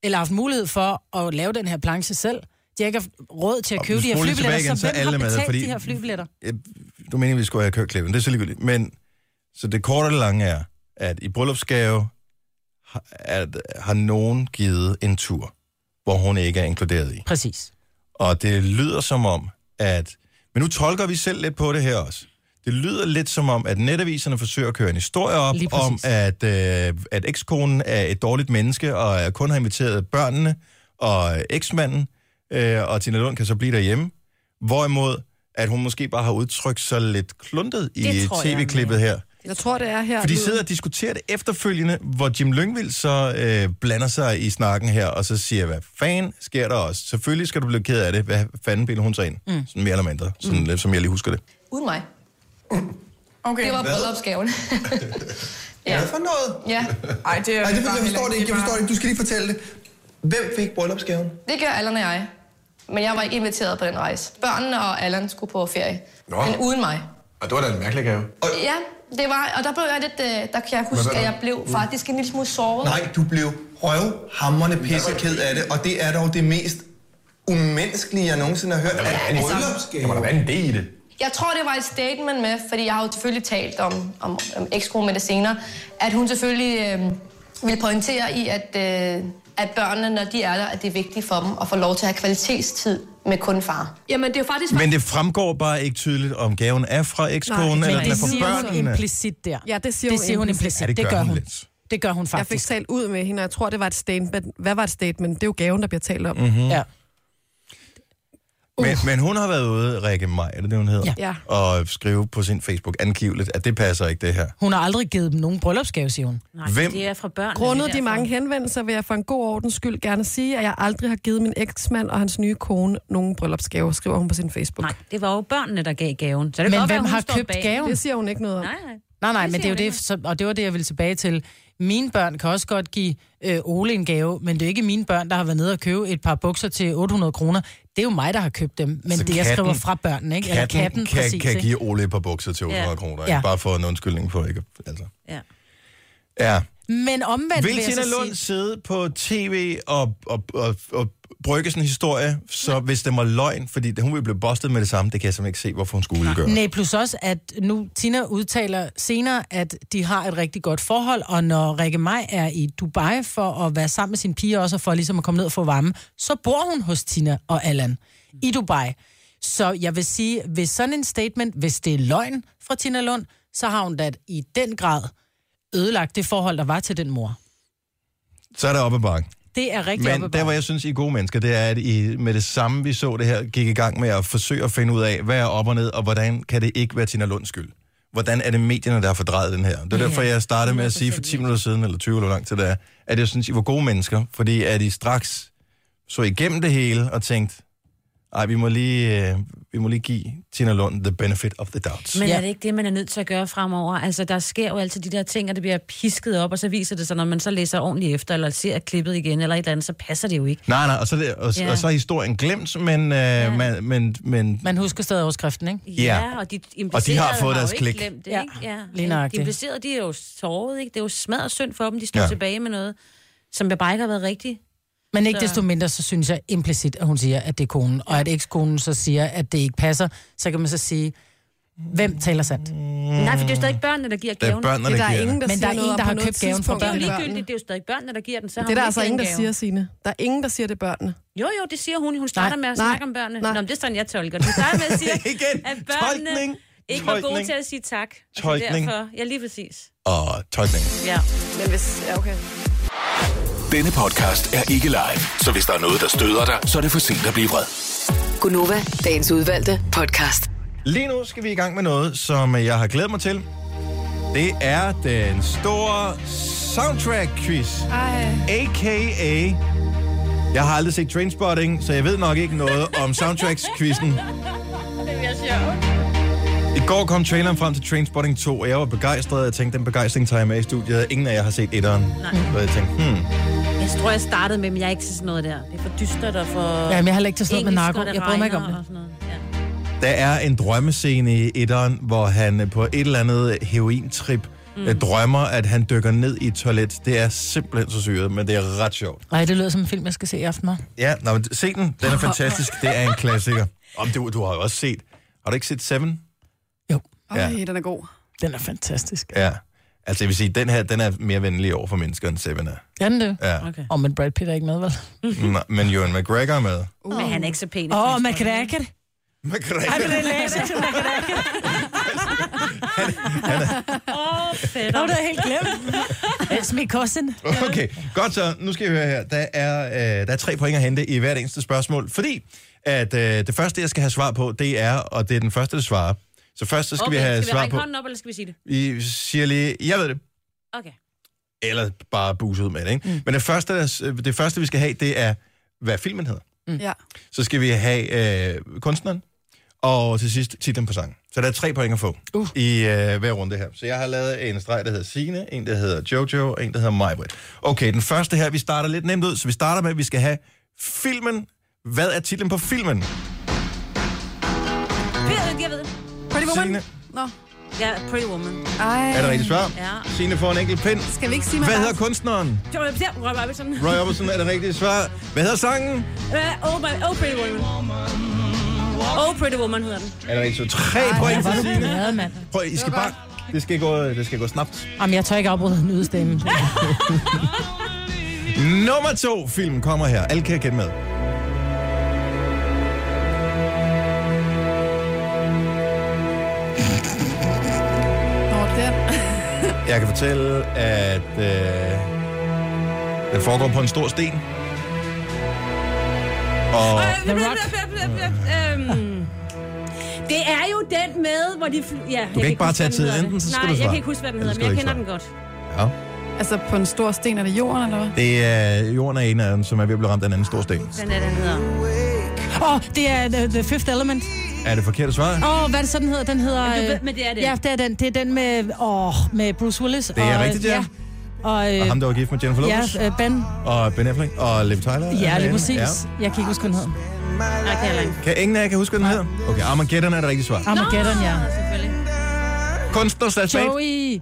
C: eller haft mulighed for at lave den her planche selv. De har ikke haft råd til at
A: Og
C: købe de her
A: spol lige
C: flybilletter,
A: tilbage igen,
C: så, hvem har betalt de her flybilletter?
A: Jeg, du mener, vi skulle have kørt klippet, det er så ligegyldigt. Men så det korte og det lange er, at i bryllupsgave har, at, har nogen givet en tur, hvor hun ikke er inkluderet i.
C: Præcis.
A: Og det lyder som om, at... Men nu tolker vi selv lidt på det her også. Det lyder lidt som om, at netaviserne forsøger at køre en historie op
C: Lige præcis.
A: om, at, øh, at ekskonen er et dårligt menneske, og øh, kun har inviteret børnene og øh, eksmanden, øh, og Tina Lund kan så blive derhjemme. Hvorimod, at hun måske bare har udtrykt sig lidt kluntet i
D: Det tror jeg,
A: tv-klippet her.
B: Jeg tror, det er her.
A: For de
B: lyden.
A: sidder og diskuterer det efterfølgende, hvor Jim Lyngvild så øh, blander sig i snakken her, og så siger, hvad fanden sker der også? Selvfølgelig skal du blive ked af det. Hvad fanden bilder hun sig ind? Mm. Sådan mere eller mindre, sådan mm. lidt som jeg lige husker det.
K: uden mig. Okay. Det var bryllupsgaven. ja.
L: for noget?
K: ja,
L: Ej, det er Ej, det, jeg forstår det ikke. Jeg forstår det ikke. Du skal lige fortælle det. Hvem fik bryllupsgaven?
K: det gør Allan og jeg. Men jeg var ikke inviteret på den rejse. Børnene og Allan skulle på ferie.
L: Nå.
K: Men uden mig.
L: Og det var da en mærkelig gave. Og,
K: Ja, det var, og der blev jeg lidt, øh, der kan jeg
L: Hvad var
K: huske,
L: der?
K: at jeg blev
L: Mm.
K: faktisk en lille smule såret.
L: nej, du blev røvhammerne pisseked af det, og det er dog det mest umenneskelige, jeg nogensinde har hørt. At bryllupsgave. Jamen, der var en idé i det.
K: Jeg tror, det var et statement med, fordi jeg har jo selvfølgelig talt om, om, om ekskonen med det senere, at hun selvfølgelig øh, vil pointere i, at, øh, at børnene, når de er der, at det er vigtigt for dem at få lov til at have kvalitetstid med kun far. Jamen, det er jo faktisk...
A: Men det fremgår bare ikke tydeligt, om gaven er fra ekskonen, eller den er
C: det
A: fra
C: siger hun
A: børnene.
C: implicit der.
B: Ja, det siger
C: det
B: hun
C: siger hun
B: implicit.
C: implicit.
A: Ja,
C: det, gør hun. Det gør hun
B: Jeg fik
C: faktisk.
B: talt ud med hende, og jeg tror, det var et statement. Hvad var et statement? Det er jo gaven, der bliver talt om.
A: Mhm.
C: Ja.
A: Men, men hun har været ude, Rikke Maj, er det det, hun hedder?
B: Ja.
A: Og skrive på sin Facebook angiveligt, at det passer ikke, det her.
C: Hun har aldrig givet dem nogen bryllupsgave, siger hun.
D: Nej,
A: Hvem-
D: det er fra børn.
B: Grundet de mange henvendelser vil jeg for en god ordens skyld gerne sige, at jeg aldrig har givet min eksmand og hans nye kone nogen bryllupsgave, skriver hun på sin Facebook. Nej,
D: Det var jo børnene, der gav gaven. Så det kan
C: Men
D: godt være,
C: hvem
D: hun
C: har
D: står
C: købt
D: bag.
C: gaven?
B: det siger hun ikke noget om.
D: Nej, nej.
C: Nej, nej,
D: Det
C: men det er
D: siger
C: jo
D: hun
C: det, som, og det var det, jeg ville tilbage til. Mine børn kan også godt give øh, Ole en gave, men det er ikke mine børn, der har været nede og købe et par bukser til 800 kroner. Det er jo mig, der har købt dem, men
A: Så
C: det, jeg
A: Altså katten-
C: skriver fra børnene, ikke? Eller
A: Katten, katten kan,
C: præcis,
A: kan
C: ikke?
A: give Ole et par bukser til 800
C: Ja.
A: kroner, ikke?
C: Ja.
A: bare for en undskyldning for ikke... at- Altså.
D: Ja.
A: Ja,
C: Men omvendt
A: Vil
C: jeg
A: Tina
C: så
A: Lund sidde på tv og, og, og, og brygge sådan en historie, så hvis det var løgn, fordi det- hun ville blive bustet med det samme, det kan jeg simpelthen ikke se, hvorfor hun skulle gøre.
C: Nej, plus også, at nu Tina udtaler senere, at de har et rigtig godt forhold, og når Rikke Maj er i Dubai for at være sammen med sin pige også, og for ligesom at komme ned og få varme, så bor hun hos Tina og Allan i Dubai. Så jeg vil sige, hvis sådan en statement, hvis det er løgn fra Tina Lund, så har hun da i den grad ødelagt det forhold, der var til den mor.
A: Så er det op ad bakken.
C: Det er rigtig
A: Men
C: op
A: der, hvor jeg synes, I er gode mennesker, det er, at I med det samme, vi så det her, gik i gang med at forsøge at finde ud af, hvad er op og ned, og hvordan kan det ikke være Tina Lunds skyld? Hvordan er det medierne, der har fordrejet den her? Det er
M: Ja,
A: derfor, jeg startede med at sige for 10 minutter siden, eller 20 eller langt til det er, at jeg synes, I var gode mennesker, fordi at I straks så igennem det hele og tænkte, ej, vi må lige, øh, vi må lige give Tina Lund the benefit of the doubt.
D: Men er det ikke det, man er nødt til at gøre fremover? Altså, der sker jo altid de der ting, og det bliver pisket op, og så viser det sig, når man så læser ordentligt efter, eller ser klippet igen, eller et eller andet, så passer det jo ikke.
A: Nej, nej, og så, er det, og,
D: Ja.
A: og så er historien glemt, men, øh, man, men, men
C: Man husker stadig overskriften, ikke?
A: Ja.
D: og de
A: Og de
D: implicerede
A: har fået deres
D: jo
A: klik.
D: ikke glemt det,
C: Ja,
D: ikke? Ja.
C: lige
D: De
C: nøjagtigt.
D: implicerede, de er jo såret, ikke? Det er jo smadret synd for dem, de står
C: Ja.
D: ja. tilbage med noget, som bare ikke har været rigtigt.
A: Mm.
C: Men ikke
D: Så-
C: desto mindre, så synes jeg implicit, at hun siger, at det er konen. Og at ekskonen så siger, at det ikke passer, så kan man så sige, hvem taler
D: Mm.
C: sandt?
D: Nej, for det er jo stadig børnene, der giver
C: Det er
D: gaven.
C: børnene, der Det er der giver ingen,
B: der
C: Men der
B: siger
C: er
B: noget
C: en, der
B: om
C: har
B: på noget
C: købt gaven fra
B: tidspunkt.
D: Det er jo
C: børnene.
D: ligegyldigt, det er jo stadig børnene, der giver den. Så har
B: Det er der
D: hun
B: altså
D: ikke
B: ingen,
D: den
B: der
D: gave.
B: siger, sine. Der er ingen, der siger, det er børnene.
D: Jo, jo, det siger hun. Hun starter
B: Nej,
D: med at
B: nej,
D: snakke om børnene.
B: nej.
D: Nå, men det er sådan, jeg tolker. det. Hun starter med at sige,
A: Igen,
D: at børnene
A: tolkning,
D: ikke var gode
A: tolkning,
D: til at sige tak. Og så
A: tolkning.
D: Derfor, ja, lige præcis.
A: Og tolkning.
D: Ja.
B: Men hvis, ja, okay.
E: Denne podcast er ikke live, så hvis der er noget, der støder dig, så er det for sent at blive vred.
F: Gunova, dagens udvalgte podcast.
A: Lige nu skal vi i gang med noget, som jeg har glædet mig til. Det er den store soundtrack-quiz. A.K.A. Jeg har aldrig set Trainspotting, så jeg ved nok ikke noget om soundtracks-quizzen.
D: Det bliver sjovt.
A: I går kom traileren frem til Trainspotting 2, og jeg var begejstret. Jeg tænkte, den begejstring tager jeg med i studiet. Ingen af jer har set etteren.
D: Nej.
A: Så jeg tænkte, hmm,
D: Jeg tror, jeg startede med, men jeg er ikke til sådan noget der. Det er for dystert og for...
C: Jamen, jeg har heller ikke til sådan noget med
D: engelsk,
C: narko.
D: og det
C: Jeg bryder mig ikke om
D: regner
C: det.
D: og sådan noget.
A: Der er en drømmescene i etteren, hvor han øh, på et eller andet herointrip
C: Mm.
A: mm. drømmer, at han dykker ned i et toilet. Det er simpelthen så syret, men det er ret sjovt.
C: Ej, det lyder som en film, jeg skal se i aften. hva'?
A: Ja, nå, men se den. Den er fantastisk. Det er en klassiker. Om du, du har jo også set... Har du ikke set Seven?
B: Ej,
A: Ja.
B: den er god.
C: Den er fantastisk.
A: Ja. Altså, jeg vil sige, den her, den er mere venlig over for mennesker, end Seven er.
C: Er den det?
A: Ja.
C: Okay. Og men Brad Pitt er ikke med, vel?
A: Nå, men Ewan McGregor er med.
D: Uh. Men han er ikke så pæn. i
C: Åh, oh,
D: Trainspotting.
C: man kan da ikke det.
A: McGregor.
C: Ej, men det læser til
D: Åh, fedt.
C: Nå, det er helt glemt. That's my cousin.
A: Okay, godt så. Nu skal vi høre her. Der er, øh, der er tre point at hente i hvert eneste spørgsmål, fordi at øh, det første, jeg skal have svar på, det er, og det er den første, der svarer. Så først så skal
D: okay,
A: vi have
D: skal vi
A: svar
D: række
A: på...
D: hånden op, eller skal vi sige det?
A: I siger lige, jeg ved det,
D: Okay.
A: eller bare buse ud med det, ikke? Mm. Men det første, der- øh, det første, vi skal have, det er, hvad filmen hedder.
B: Mm. Ja.
A: Så skal vi have øh, kunstneren, og til sidst titlen på sangen. Så der er tre point at få uh. i øh, hver runde her. Så jeg har lavet en streg, der hedder Sine, en, der hedder Jojo, og en, der hedder Majbrit. Okay, den første her, vi starter lidt nemt ud, så vi starter med, at vi skal have filmen. Hvad er titlen på filmen?
D: Peter, jeg ved det.
B: Pretty
A: Woman? Signe.
B: Nå.
D: Ja, Pretty Woman.
B: Ej.
A: Er det rigtigt svar?
D: Ja.
A: Sine får en enkelt pind.
B: Skal vi ikke sige, man
A: Hvad
B: bare-
A: hedder kunstneren?
D: Jo, jeg bliver- Roy Robinson.
A: Roy Orbison er det rigtige svar. Hvad hedder sangen?
D: Øh, oh, my, oh, Pretty Woman. Oh, Pretty Woman hedder den.
A: Er det rigtigt? Så tre
C: Ej,
A: point for
C: hvor er du
A: Signe.
C: glad, mand.
A: Prøv, I skal bare... Det skal gå, det skal gå snabt.
C: Jamen, jeg tør ikke afbryde en ydestemme.
A: Nummer to film kommer her. Alle kan kende med.
B: Nå, den.
A: Jeg kan fortælle, at øh, den foregår på en stor sten. Og
D: Øh, øh, øh, øh, øh, øh, øhm, Det er jo den med, hvor de... Fly... Ja, jeg
A: ikke bare
D: huske,
A: tage
D: hvad den
A: tiden.
D: hedder.
A: Enten så skal
D: Nej,
A: du
D: jeg
A: svare.
D: kan ikke huske, hvad den
A: Ellers
D: hedder,
A: skal
D: men
A: du
D: jeg kender
A: ikke
D: den godt.
A: ja,
B: Altså på en stor sten, er det jorden, eller hvad?
A: det er jorden er en af dem, som er ved at blive ramt af en anden stor sten.
D: Den er, den hedder.
C: Åh, oh, det er the, the Fifth Element.
A: Er det forkert svar?
C: Åh, oh, hvad er det så, den hedder? Den hedder...
D: Men du ved-
C: øh,
D: men det er den.
C: Ja, det er den. Det er den med, åh, med Bruce Willis.
A: Det er
C: og, øh,
A: rigtigt, ja.
C: Og, øh,
A: Og ham, der var gift med Jennifer Lopez?
C: Ja, øh, Ben.
A: Og Ben Affleck og Liv Tyler?
C: Ja,
A: er med.
C: lige præcis.
A: Ja.
C: Jeg kan ikke huske, hvad den hedder.
D: Nej, kan jeg ikke.
A: Kan ingen af jer kan huske, hvad den hedder? Okay, Armageddon er det rigtige svar.
C: Armageddon, ja.
D: selvfølgelig.
A: Kunstner slash band.
C: Joey.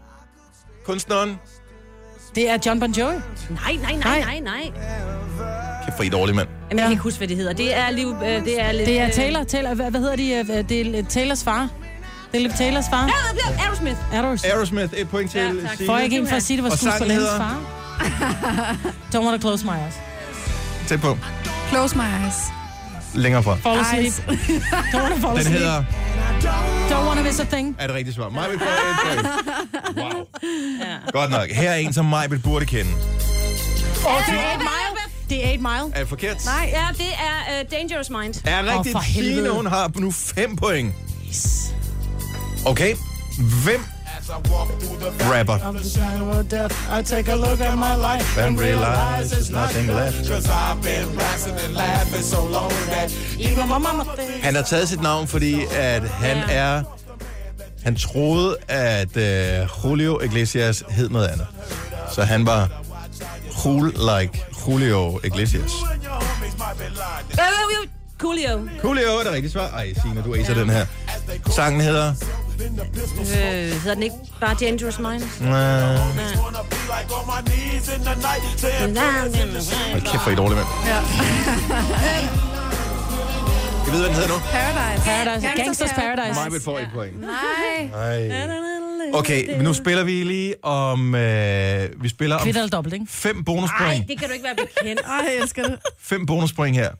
A: Kunstneren.
C: Det er John Bon Jovi.
D: Nej, nej, nej, nej, nej.
A: Kæft for I dårlig mand.
D: Jamen, jeg kan ikke huske, hvad det hedder. Det er, liv, øh, det er lidt...
C: Det er
D: øh,
C: Taylor. Taylor hvad, hvad hedder de? øh, Det er Taylors far. Det er lidt Taylors far.
D: Ja, det er Aerosmith.
C: Aerosmith.
A: Aerosmith, et point til.
C: Ja, tak.
A: Signe.
C: Får jeg ikke en for at sige, det var
A: Og sangen
C: skuespillerens
A: hedder-
C: far? Don't wanna close my eyes.
A: Tæt på.
B: Close my eyes.
A: Længere fra.
C: Fall asleep. Don't wanna fall
A: Den
C: asleep.
A: hedder...
C: Don't wanna miss a thing.
A: Er det rigtigt svar? Majbet får et point. Wow. Godt nok. Her er en, som Majbet burde kende.
D: Åh,
C: det er 8 Mile. Det er 8 Mile.
A: Er det forkert?
D: Nej, ja, det er uh, Dangerous Mind.
A: Er det rigtigt? Signe, hun har nu 5 point.
C: Yes.
A: Okay. Hvem rapper?
C: Of the shadow of death, I take a look at my life
A: And realize there's nothing left.
M: Cause I've been rising and laughing so long that
C: Even my mama thinks
A: Han har taget sit navn, fordi at han
M: Ja.
A: er... Han troede, at øh, Julio Iglesias hed noget andet. Så han var cool like Julio Iglesias.
D: Uh, Coolio.
A: Coolio er det rigtige svar. Ej, Signe, du acer den her. Sangen hedder...
D: Øh, hedder den ikke bare Dangerous Mind?
A: Øh,
D: Hold
A: kæft, for I dårlige mand.
B: Ja.
A: Jeg ved, hvad den hedder nu.
B: Paradise.
C: Paradise. Gangsters Paradise.
A: Majbet får et point.
B: Nej.
A: Ej. Okay, men nu spiller vi lige om... Øh, vi spiller om
C: Kvitter eller dobbelt, ikke?
A: fem bonuspoint.
D: det kan du ikke være bekendt.
B: Ej, jeg elsker det.
A: Fem bonuspoint her.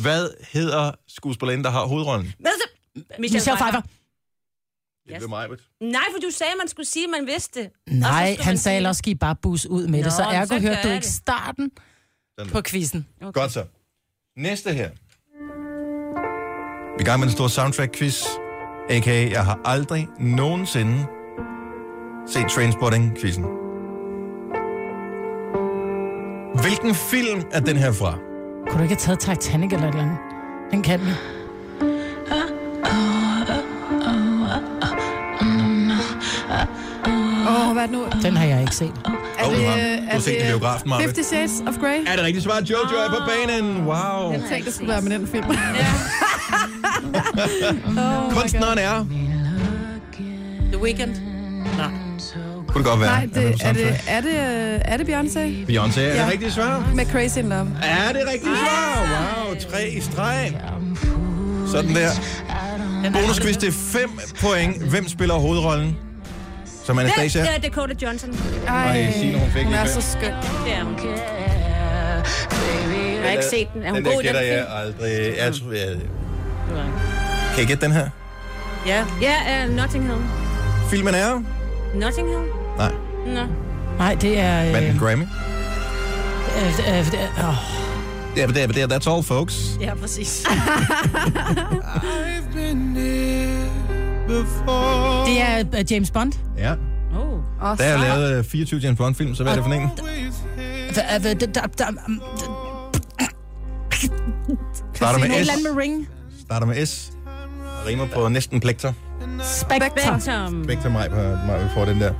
A: Hvad hedder skuespilleren, der har hovedrollen?
D: Men så... Michelle,
C: Michelle Pfeiffer.
A: Det blev Majbet.
D: Nej, for du sagde, at man skulle sige, at man vidste det. Og så
C: Nej,
D: skulle
C: han
D: man
C: sagde
D: sige-
C: ellers, også, I bare bus ud med
D: Nå,
C: det, så
D: men
C: ergo
D: så
C: hørte
D: gør
C: du
D: jeg
C: ikke
D: det.
C: starten
A: der.
C: på quizzen.
A: Okay. Godt så. Næste her. Vi er i gang med en stor soundtrack-quiz. A.k.a. jeg har aldrig nogensinde set Trainspotting-quizzen. Hvilken film er den her fra?
C: Kunne du ikke have taget Titanic eller et eller andet? Den kan vi.
B: Åh, oh, hvad er det nu?
C: Den har jeg ikke set.
B: Er
A: Åh,
B: det,
A: du har- du har
B: er
A: set den i biografen, Maja.
B: 50 Shades of Grey?
A: Er det rigtigt svar? Jojo er på banen. Wow.
B: Jeg tænkte, det skulle være med Ah, den film.
A: Kunstneren er...
C: The Weeknd.
A: Nej. Kunne det godt være?
B: Nej, det,
A: Er
B: er, det,
A: det
B: er, det, øh, er det Beyoncé?
A: Beyoncé, er det rigtigt svar?
B: Med Crazy in Love.
A: Er det rigtigt svar? Wow, tre i streg. Sådan der. Bonusquiz, det er fem point. Hvem spiller hovedrollen? Som Anastasia?
D: Det er Dakota Johnson.
A: Nej, Signe, hun fik Hun lige er fem. så
B: skøn.
D: Det er hun. Jeg har ikke set den. Er hun
A: den
D: god
A: der
D: i den
A: gætter
D: film?
A: jeg aldrig. Jeg tror, jeg... Kan I gætte den her?
D: Ja. Ja, uh, Notting Hill.
A: Filmen er...
D: Notting Hill?
A: Nej.
D: Nå.
C: Nej, det er... Øh,
A: Vandt en Grammy.
C: øh, øh, øh, åh.
A: Ja, det er, det er, that's all, folks.
C: Ja, præcis. det er øh, James Bond.
A: Ja.
C: Oh.
A: Der er lavet øh, 24 James Bond-film, så hvad er det for en? Starter
C: Casino.
A: med S.
C: Land med ring.
A: Starter med S. og Rimer på næsten plekter.
D: Spectrum.
A: Vægter mig, på- mig får den der.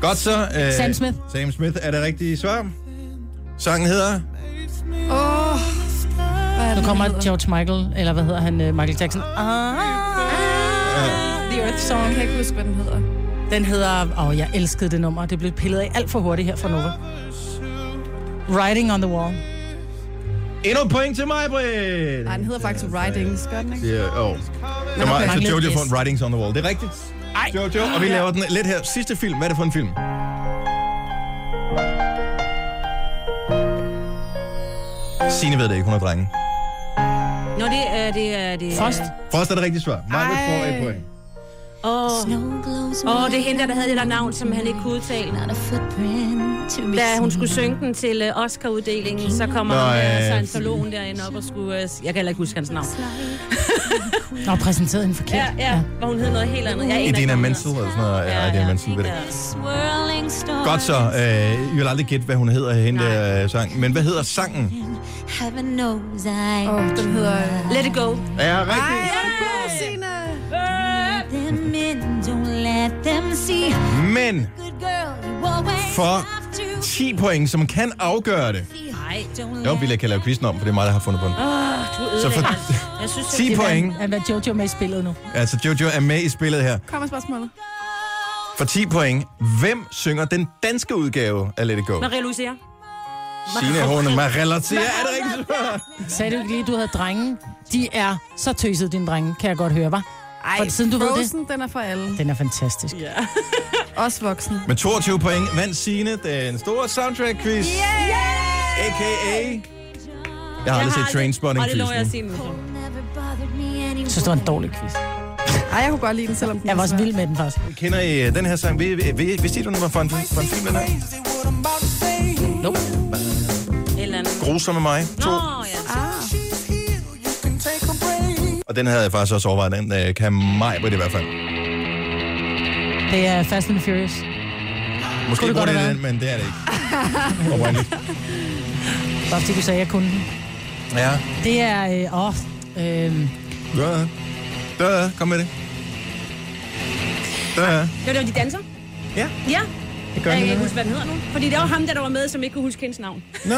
A: Godt så. Øh,
C: Sam Smith.
A: Sam Smith er det rigtige svar. Sangen hedder...
B: Åh.
C: Nu kommer George Michael, eller hvad hedder han, øh, Michael Jackson. Ah, the Earth Song.
B: Jeg kan ikke huske, hvad den hedder.
C: Den hedder... Åh, jeg elskede det nummer. Det blev pillet af alt for hurtigt her fra Nova. Riding on the Wall.
A: Endnu et point til mig, Britt!
B: Nej, den hedder faktisk Ridings, gør den ikke?
A: Det er, oh. Så,
B: der
A: meget, så
B: manglede
A: Jojo
B: et
A: får
B: S.
A: en Writings on the Wall. Det er rigtigt. Ej. Jojo, og vi
B: Ja.
A: laver den lidt her. Sidste film. Hvad er det for en film? Signe ved det ikke, hun er drenge.
D: Nå, det er... Det er det er-
C: Frost.
A: Frost er det rigtige svar. Mig
D: Ej.
A: får et point.
D: Åh, oh. oh, det er hende, der havde det der navn, som han ikke kunne udtale. Da hun skulle synge den til øh, Oscar-uddelingen, så kommer
C: Nå,
D: Nå, han
C: ja,
D: der, Søren
C: præcis.
D: Salon derinde op og skulle... øh, s- Jeg kan heller ikke huske hans navn.
C: Nå, præsenteret en forkert.
D: Ja, ja, hvor hun hed noget helt andet. Jeg aner
A: Idina
D: ikke,
A: Menzel eller sådan noget. Ja, Idina Menzel ved det.
D: Swirling storm.
A: Godt så. Øh, I vil aldrig gætte, hvad hun hedder, hende der øh, sang. Men hvad hedder sangen?
D: Heaven knows I
B: Åh, den hedder...
D: Let it go.
A: Er rigtigt. Men for 10 point, som kan afgøre det.
D: Nej,
A: Jo, vi kan lave quizzen om, for det er mig, der har fundet på den.
D: Åh, du
A: Så for
D: ødelægger for... Jeg synes,
A: 10
C: Det er,
A: point.
C: Han er Jojo med i spillet nu.
A: Altså, Jojo er med i spillet her.
B: Kom med spørgsmålet.
A: For 10 point. Hvem synger den danske udgave af Let It Go?
D: Marie Lucia.
A: Signe, hun er relateret. Er det rigtigt?
C: Sagde du ikke lige, du havde drenge? De er så tøsede, dine drenge, kan jeg godt høre, var.
B: Ej,
C: For siden du ved det.
B: Frozen, den er for alle.
C: Den er fantastisk.
B: Ja. Også voksne.
A: Med 22 point vandt Signe den store soundtrack-quiz.
B: Yeah!
A: A.K.A. Jeg har aldrig set Trainspotting-quizzen.
D: nu.
C: Jeg synes, det var en dårlig quiz.
B: Ej, jeg kunne godt lide den, selvom den
C: Jeg var også vild med den faktisk.
A: Kender I øh, den her sang? Ved- ved- ved- Vidste I, du, den var for en, for en film, den her?
C: Nope.
D: Eller andet.
A: Grusomme mig.
D: Nå, ja. Ah.
A: Og den havde jeg faktisk også overvejet. Den øh, kan mig på det i hvert fald.
C: Det er Fast and Furious.
A: Måske
C: Kunne
A: burde
C: det godt
A: det
C: have
A: den, men det er det ikke. Oprindeligt.
C: Bare fordi du sagde, jeg kunne den.
A: Ja.
C: Det er... Øh, åh, øh,
A: Gør det. Dør, kom med det. Dør.
N: Det var der, hvor de danser?
A: Ja.
N: Ja.
A: Det gør
N: Jeg kan
A: den, ja.
N: ikke huske, hvad den hedder nu. Fordi det var ham, der, der var med, som ikke kunne huske hendes navn.
A: Nå.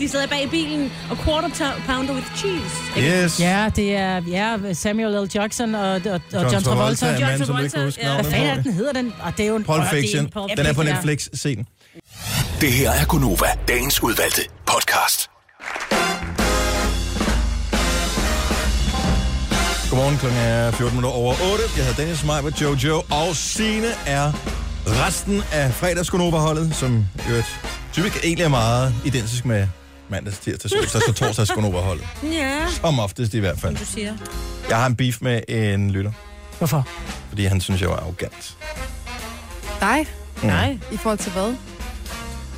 N: de sad bag i bilen og quarter to- pounder with cheese.
A: Yes.
C: Ja, det er ja, Samuel L. Jackson og, og, og John, John Travolta.
A: er en mand, som du ikke kan huske
C: ja. Hvad
A: navnet på.
C: fanden er det, den hedder den? Og det er jo en
A: Pulp
C: og det er en
A: Fiction.
C: Pulp
A: Den er på
C: Fiction, ja.
A: Netflix. Se den.
E: Det her er Gunova, dagens udvalgte podcast.
A: Godmorgen, klokken er 14 minutter over 8. Jeg hedder Dennis Meiber, Jojo, og Signe er resten af fredagsgonoverholdet, som i øvrigt typisk egentlig er meget identisk med mandags, tirsdags, onsdags og torsdags gonoverholdet.
D: Ja.
A: Som oftest i hvert fald.
D: Som du siger.
A: Jeg har en beef med en lytter,
C: Hvorfor?
A: fordi han synes, jeg var arrogant.
B: Dig?
A: Mm. Nej.
B: I forhold til hvad?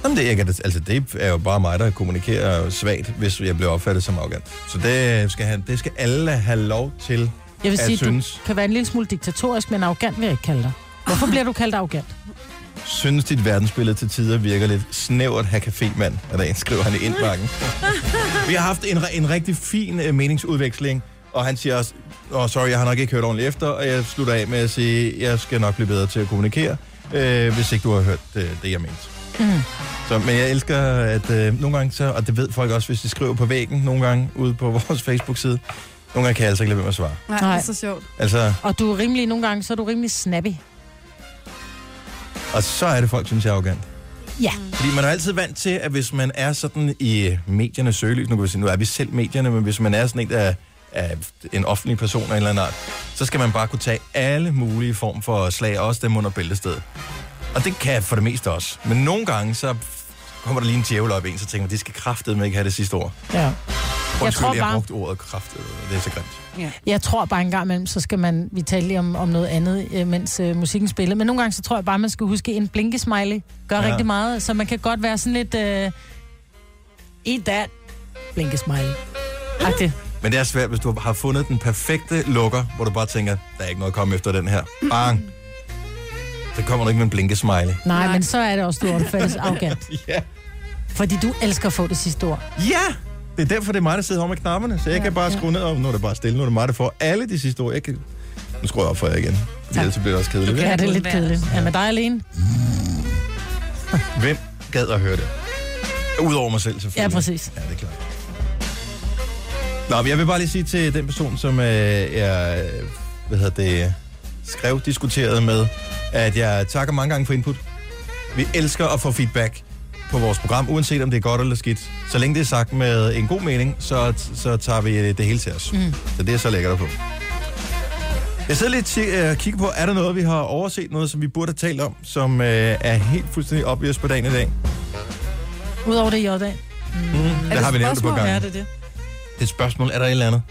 A: Jamen, det, jeg kan, altså, det er jo bare mig, der kommunikerer svagt, hvis jeg bliver opfattet som arrogant. Så det skal, han, det skal alle have lov til
C: Jeg vil
A: at
C: sige,
A: synes.
C: du kan være en lille smule diktatorisk, men arrogant vil jeg ikke kalde dig. Hvorfor bliver du kaldt arrogant?
A: Synes dit verdensbillede til tider virker lidt snævert her kafémand, er der en, skriver han i indbakken. Vi har haft en, re- en rigtig fin øh, meningsudveksling, og han siger også, oh, sorry, jeg har nok ikke hørt ordentligt efter, og jeg slutter af med at sige, jeg skal nok blive bedre til at kommunikere, øh, hvis ikke du har hørt øh, det, jeg mente.
C: Mm.
A: Så, men jeg elsker, at øh, nogle gange så, og det ved folk også, hvis de skriver på væggen nogle gange ude på vores Facebook-side, nogle gange kan jeg altså ikke lade være med at svare.
C: Nej, det er så
B: sjovt.
A: Altså,
C: Og du er rimelig, nogle gange, så er du rimelig snappy.
A: og så er det folk, synes jeg er arrogant.
C: Ja.
A: Fordi man er altid vant til, at hvis man er sådan i mediernes søgelys, nu kan vi sige, nu er vi selv medierne, men hvis man er sådan en, der er- er en offentlig person af en eller anden art, så skal man bare kunne tage alle mulige form for slag, også dem under bæltestedet. Og det kan jeg for det meste også. Men nogle gange, så kommer der lige en djævel op i en, så tænker man, de skal kraftedeme ikke have det sidste ord.
C: Ja. Jeg
A: Undskyld,
C: tror
A: jeg, jeg har
C: bare,
A: brugt ordet kraftedeme. Det er så grimt.
C: Ja. Jeg tror bare en gang imellem, så skal man, vi taler lige om, om noget andet, øh, mens øh, musikken spiller. Men nogle gange, så tror jeg bare, man skal huske, en blinkesmiley gør
A: Ja.
C: ja. rigtig meget. Så man kan godt være sådan lidt, øh, eat that, blinkesmiley. Agtigt.
A: Men det er svært, hvis du har fundet den perfekte lukker, hvor du bare tænker, der er ikke noget at komme efter den her. Bang! Så kommer du ikke med en blinkesmiley.
C: Nej, men så er det også, du opfattes arrogant.
A: Ja.
C: Fordi du elsker at få det sidste ord.
A: Ja! Det er derfor, det er mig, der sidder over med knapperne, så jeg ja, kan bare skrue ned, og nu er det bare stille. Nu er det mig, der får alle de sidste ord. Jeg kan... Nu skruer jeg op for jer igen, fordi ellers så bliver det også kedeligt.
C: Ja, det er
A: ikke?
C: lidt kedeligt. Er med dig alene?
A: Hvem gad at høre det? Udover mig selv,
C: Ja,
A: selvfølgelig.
C: præcis.
A: Ja, det er klart. Nå, men jeg vil bare lige sige til den person, som øh, jeg øh, hvad hedder det, skrev, diskuterede med, at jeg takker mange gange for input. Vi elsker at få feedback på vores program, uanset om det er godt eller skidt. Så længe det er sagt med en god mening, så, så tager vi øh, det hele til os. Mm. Så det er så lækkert at få. Jeg sidder lidt og øh, kigger på, er der noget, vi har overset, noget, som vi burde have talt om, som øh, er helt fuldstændig obvious på dagen i dag?
C: Udover det i dag.
A: Mm. Det, har vi nævnt et par gange.
C: Ja, det er det.
A: det er et spørgsmål, er der et eller andet?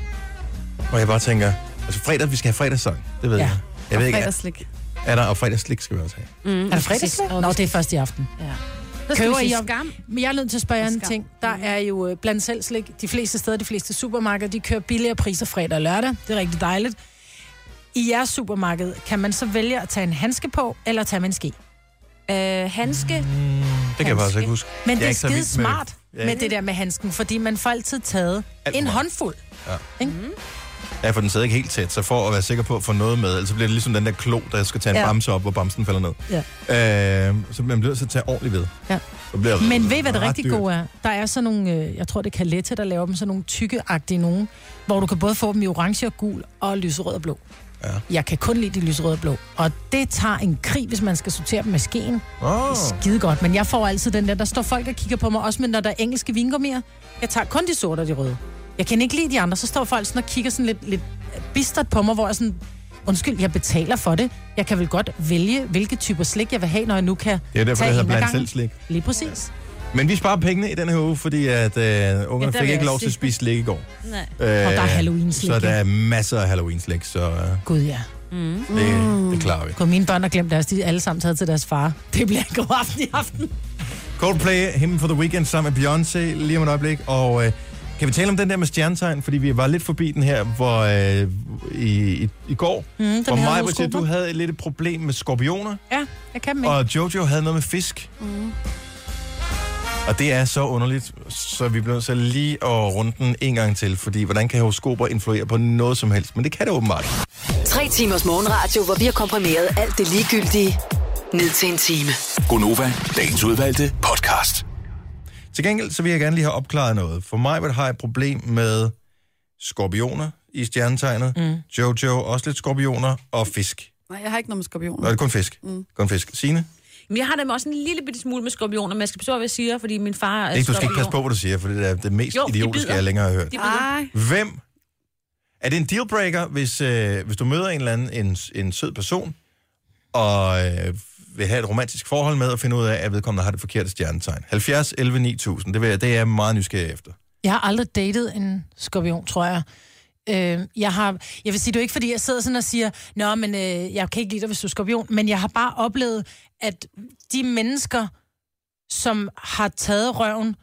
A: Hvor jeg bare tænker, altså fredag, vi skal have fredagssang, det ved
C: Ja.
A: jeg. Jeg ved
C: Og
A: ikke,
C: fredagsslik.
A: Er, er der, og fredagsslik skal vi også have.
C: Mm. Er det fredags? Nå, det er først i aften.
D: Ja.
C: Der
D: skal
C: Køber
D: vi
C: I
D: sige
C: om?
D: skam.
C: Men jeg er nødt til at spørge jer en
D: Skam.
C: ting. Der er jo øh, blandt selv slik. De fleste steder, de fleste supermarkeder, de kører billigere priser fredag og lørdag. Det er rigtig dejligt. I jeres supermarked, kan man så vælge at tage en handske på, eller tage med en ske?
D: Øh, handske.
A: Det kan jeg faktisk ikke huske.
C: Men
A: jeg
C: det er
A: ikke så vild
C: skide
A: med-
C: smart
A: Ja.
C: med, med det der med handsken, fordi man får altid taget
A: Alt for
C: en
A: meget.
C: håndfuld.
A: Ja.
C: Ikke?
A: ja, for den sidder ikke helt tæt, så for at være sikker på at få noget med, ellers så bliver det ligesom den der klo, der skal tage en
C: Ja.
A: ja. bamse op, hvor bamsen falder ned.
C: Ja.
A: Øh, så man bliver så tage ordentligt ved.
C: Ja.
A: Så bliver det
C: Men ved I, hvad det
A: ret
C: rigtig
A: dyrt.
C: gode er? Der er sådan nogle, øh, jeg tror det er Calette, der laver dem, sådan nogle tykkeagtige nogen, hvor du kan både få dem i orange og gul og lyserød og blå. Ja. Jeg kan kun lide de lyserøde og blå. Og det tager en krig, hvis man skal sortere dem med skeen.
A: Oh.
C: Skide godt, men jeg får altid den der, der står folk og kigger på mig, også men når der er engelske vingummier. Jeg tager kun de sorte og de røde. Jeg kan ikke lide de andre, så står folk sådan og kigger sådan lidt, lidt bistert på mig, hvor jeg sådan, undskyld, jeg betaler for det. Jeg kan vel godt vælge, hvilke typer slik jeg vil have, når jeg nu kan
A: Det er derfor, det hedder
C: en ad
A: blandt selv
C: gangen.
A: slik.
C: Lige præcis.
A: Men vi sparer pengene i den her uge, fordi at øh,
C: vil
A: ungerne
C: jeg
A: fik ikke lov
C: også
A: til at
C: sige.
A: spise slik i går.
C: Nej. Og der er Halloween-slik,
A: Øh, Så der
C: ja.
A: er masser af Halloween-slik, så øh,
C: Gud ja. Mm.
A: det, det klarer vi.
C: Kun mine børn har glemt deres, de er alle sammen taget til deres far. Det bliver en god aften i aften.
A: Coldplay, Him for the Weekend sammen med Beyoncé lige om et øjeblik. Og øh, kan vi tale om den der med stjernetegn? Fordi vi var lidt forbi den her hvor, øh, i, i, i går.
C: Mm, den
A: hvor
C: havde
A: mig,
C: horoskoper.
A: du havde lidt et problem med skorpioner.
C: Ja, jeg kan dem ikke.
A: Og Jojo havde noget med fisk.
C: Mm.
A: Og det er så underligt, så vi bliver så lige at runde den en gang til. Fordi hvordan kan horoskoper influere på noget som helst? Men det kan det åbenbart.
F: Tre timers morgenradio, hvor vi har komprimeret alt det ligegyldige ned til en time.
E: Gonova, dagens udvalgte podcast.
A: Til gengæld så vil jeg gerne lige have opklaret noget. For mig har jeg et problem med skorpioner i stjernetegnet. Mm. Jojo også lidt skorpioner og fisk.
B: Nej, jeg har ikke noget med skorpioner.
A: Nå, det er kun fisk. Mm. Kun fisk. Signe?
D: Men jeg har dem også en lille bitte smule med skorpioner, men jeg skal passe på, hvad jeg siger, fordi min far er
A: Ikke, du skal ikke
D: skorpion.
A: passe på, hvad du siger, for det er det mest
D: Jo,
A: jo,
D: de
A: idiotiske,
D: bider.
A: jeg længere har hørt.
D: De bider.
A: Hvem? Er det en dealbreaker, hvis, øh, hvis du møder en eller anden, en, en sød person, og øh, vil have et romantisk forhold med, og finde ud af, at vedkommende har det forkerte stjernetegn? 70, 11, 9000. Det, vil, jeg- det er jeg meget nysgerrig efter.
C: Jeg har aldrig datet en skorpion, tror jeg. Øh, jeg, har, jeg vil sige, det er jo ikke, fordi jeg sidder sådan og siger, Nå, men øh, jeg kan ikke lide dig, hvis du er skorpion, men jeg har bare oplevet, at de mennesker, som har taget røven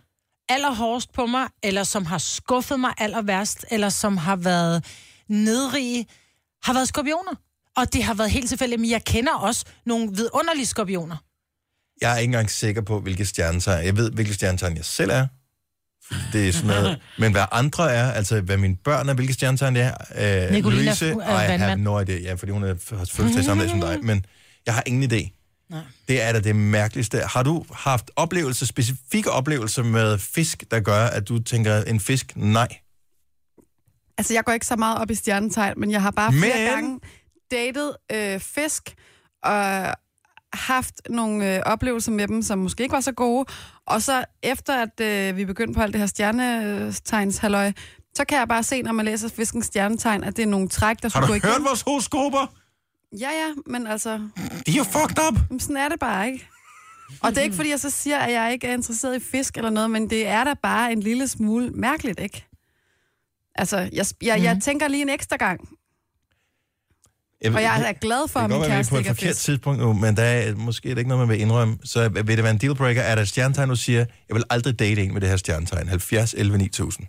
C: allerhårdest på mig, eller som har skuffet mig aller værst, eller som har været nedrige, har været skorpioner. Og det har været helt tilfældigt, men jeg kender også nogle vidunderlige skorpioner.
A: Jeg er ikke engang sikker på, hvilke stjernetegn. Jeg ved, hvilke stjernetegn jeg selv er. Det er sådan noget. Men hvad andre er, altså hvad mine børn er, hvilke stjernetegn det er. Øh,
C: Nicolina
A: Louise,
C: er
A: og jeg har
C: vandmand.
A: no idea. Ja, fordi hun er, har selvfølgelig samme dag som dig. Men jeg har ingen idé.
C: Nej.
A: Det er da det mærkeligste. Har du haft oplevelser, specifikke oplevelser med fisk, der gør, at du tænker, en fisk, nej.
B: Altså, jeg går ikke så meget op i stjernetegn, men jeg har bare flere
A: Men-
B: gange datet øh, fisk og haft nogle øh, oplevelser med dem, som måske ikke var så gode. Og så efter, at øh, vi begyndte på alt det her stjernetegnshalløj, så kan jeg bare se, når man læser fiskens stjernetegn, at det er nogle træk, der
A: Har du
B: skulle gå
A: hørt
B: igennem.
A: vores horoskoper?
B: Ja, ja, men altså...
A: De er jo fucked up!
B: Jamen, sådan er det bare, ikke? Og det er ikke, fordi jeg så siger, at jeg ikke er interesseret i fisk eller noget, men det er da bare en lille smule mærkeligt, ikke? Altså, jeg, jeg, jeg,
A: Mhm.
B: jeg tænker lige en ekstra gang, og jeg er glad for,
A: det kan
B: at min
A: godt være, vi er
B: kæreste
A: på et
B: ikke er
A: forkert
B: fisk.
A: tidspunkt nu, men der er måske er det ikke noget, man vil indrømme. Så vil det være en dealbreaker? Er der et stjernetegn, du siger, jeg vil aldrig date en med det her stjernetegn? 70, 11, 9000.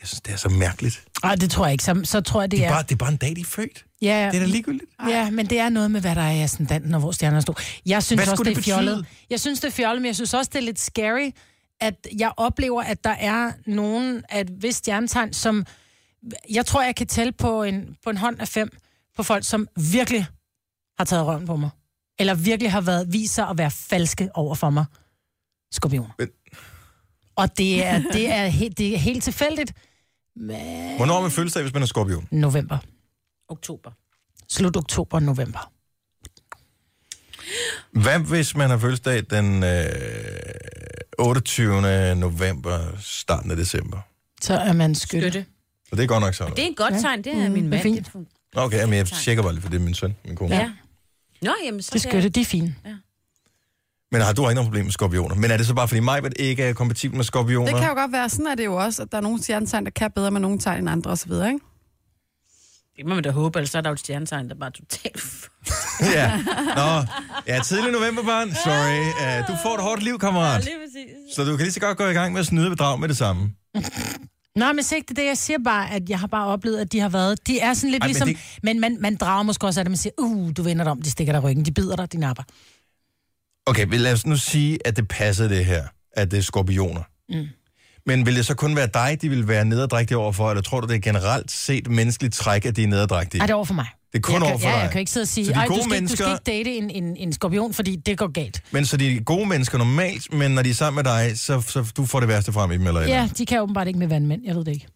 A: Jeg synes, det er så mærkeligt.
C: Ej, det tror jeg ikke. Så, så tror jeg, det,
A: Det er,
C: er...
A: bare, det er bare en dag, de er født.
C: Ja,
A: Det er da ligegyldigt.
C: Ja, men det er noget med, hvad der er i ascendanten og hvor stjerner står. Jeg synes
A: Hvad
C: også,
A: skulle
C: det er
A: det
C: fjollet.
A: betyde?
C: Jeg synes, det er fjollet, men jeg synes også, det er lidt scary, at jeg oplever, at der er nogen af et vist stjernetegn, som jeg tror, jeg kan tælle på en, på en hånd af fem på folk, som virkelig har taget røven på mig. Eller virkelig har været viser at være falske over for mig. Skorpioner.
A: Men-
C: Og det er, det, er helt, det er helt tilfældigt. Men...
A: Hvornår har man fødselsdag, hvis man er skorpion?
C: November. Ah.
D: Oktober.
C: Slut oktober, november.
A: Hvad hvis man har fødselsdag den øh, 28. november, starten af december?
C: Så er man skytte. skytte.
A: Og det er godt nok sådan
D: Det er et godt tegn, det er
C: Mm,
D: min
C: det er
D: mand.
C: fint.
A: noget. Okay, men jeg tjekker bare lige, for det er min søn, min kone.
D: Ja. Nå, jamen, så
C: Det er skytte, de er fine.
A: Men har du har ikke noget problem med skorpioner? Men er det så bare, fordi mig ikke er kompatibel med skorpioner?
B: Det kan jo godt være, sådan er det jo også, at der er nogle stjernetegn, der kan bedre med nogle tegn end andre osv., ikke?
D: Det må man da håbe, ellers er der jo et stjernetegn, der bare er totalt...
A: ja. Nå, ja, tidlig novemberbarn. Sorry. Uh, du får et hårdt liv, kammerat. Så du kan lige så godt gå i gang med at snyde bedrag med det samme.
C: Nej, men se ikke det, er det, jeg siger bare, at jeg har bare oplevet, at de har været... De er sådan lidt
A: Ej,
C: Ej,
A: men
C: ligesom... Men,
A: det-
C: men man, man drager måske også af det, man siger, uh, du vender dig om, de stikker dig i ryggen, de bider dig, de napper.
A: Okay, men lad os nu sige, at det passede det her, at det er skorpioner.
C: Mm.
A: Men vil det så kun være dig, de vil være nederdrægtige overfor, eller tror du, det er generelt set menneskeligt træk, at de er nederdrægtige?
C: Ej, det er over for mig.
A: Det er kun
C: jeg
A: over
C: kan,
A: for
C: ja,
A: dig.
C: jeg kan ikke sidde og
A: Så
C: sige,
A: de
C: Ej, du,
A: gode
C: skal, mennesker... du
A: mennesker-
C: skal ikke date en, en, en skorpion, fordi det går galt.
A: Men så de er gode mennesker normalt, men når de er sammen med dig, så, så du får det værste frem i dem, eller et eller andet.
C: Ja, de kan åbenbart ikke med vandmænd, jeg ved det ikke.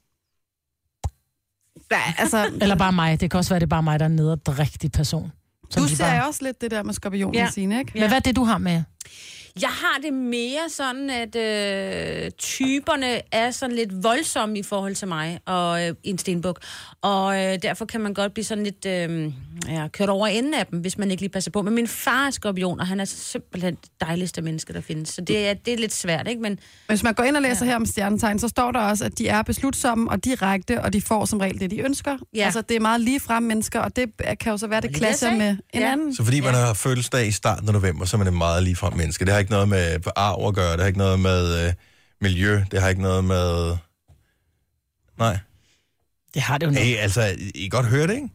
B: Nej, altså...
C: Eller bare mig. Det kan også være, det er bare mig, der er en nederdrægtig person.
B: Du
C: Som de
B: ser bare... også lidt det der med skorpionen, ja.
D: Ja.
B: Signe, ikke?
D: Men hvad
C: er det, du har med?
D: Jeg har det mere sådan, at øh, typerne er sådan lidt voldsomme i forhold til mig og øh, en stenbuk. Og øh, derfor kan man godt blive sådan lidt øh, ja, kørt over enden af dem, hvis man ikke lige passer på. Men min far er skorpion, og han er simpelthen det dejligste menneske, der findes. Så det er, det er lidt svært, ikke? Men
B: Hvis man går ind og læser ja. her om stjernetegn, så står der også, at de er beslutsomme og direkte, og de får som regel det, de ønsker. Ja.
D: Ja.
B: Altså, det er meget ligefrem mennesker, og det kan jo så være, det
D: lige det, jeg
B: klasser
D: sagde.
B: med en
D: Ja.
B: anden.
A: Så fordi man har fødselsdag i starten af november, så er man en meget ligefrem menneske. Det har ikke noget med arv at gøre, det har ikke noget med øh, miljø, det har ikke noget med... Nej.
C: Det har det jo
A: hey, altså, I kan godt høre det, ikke?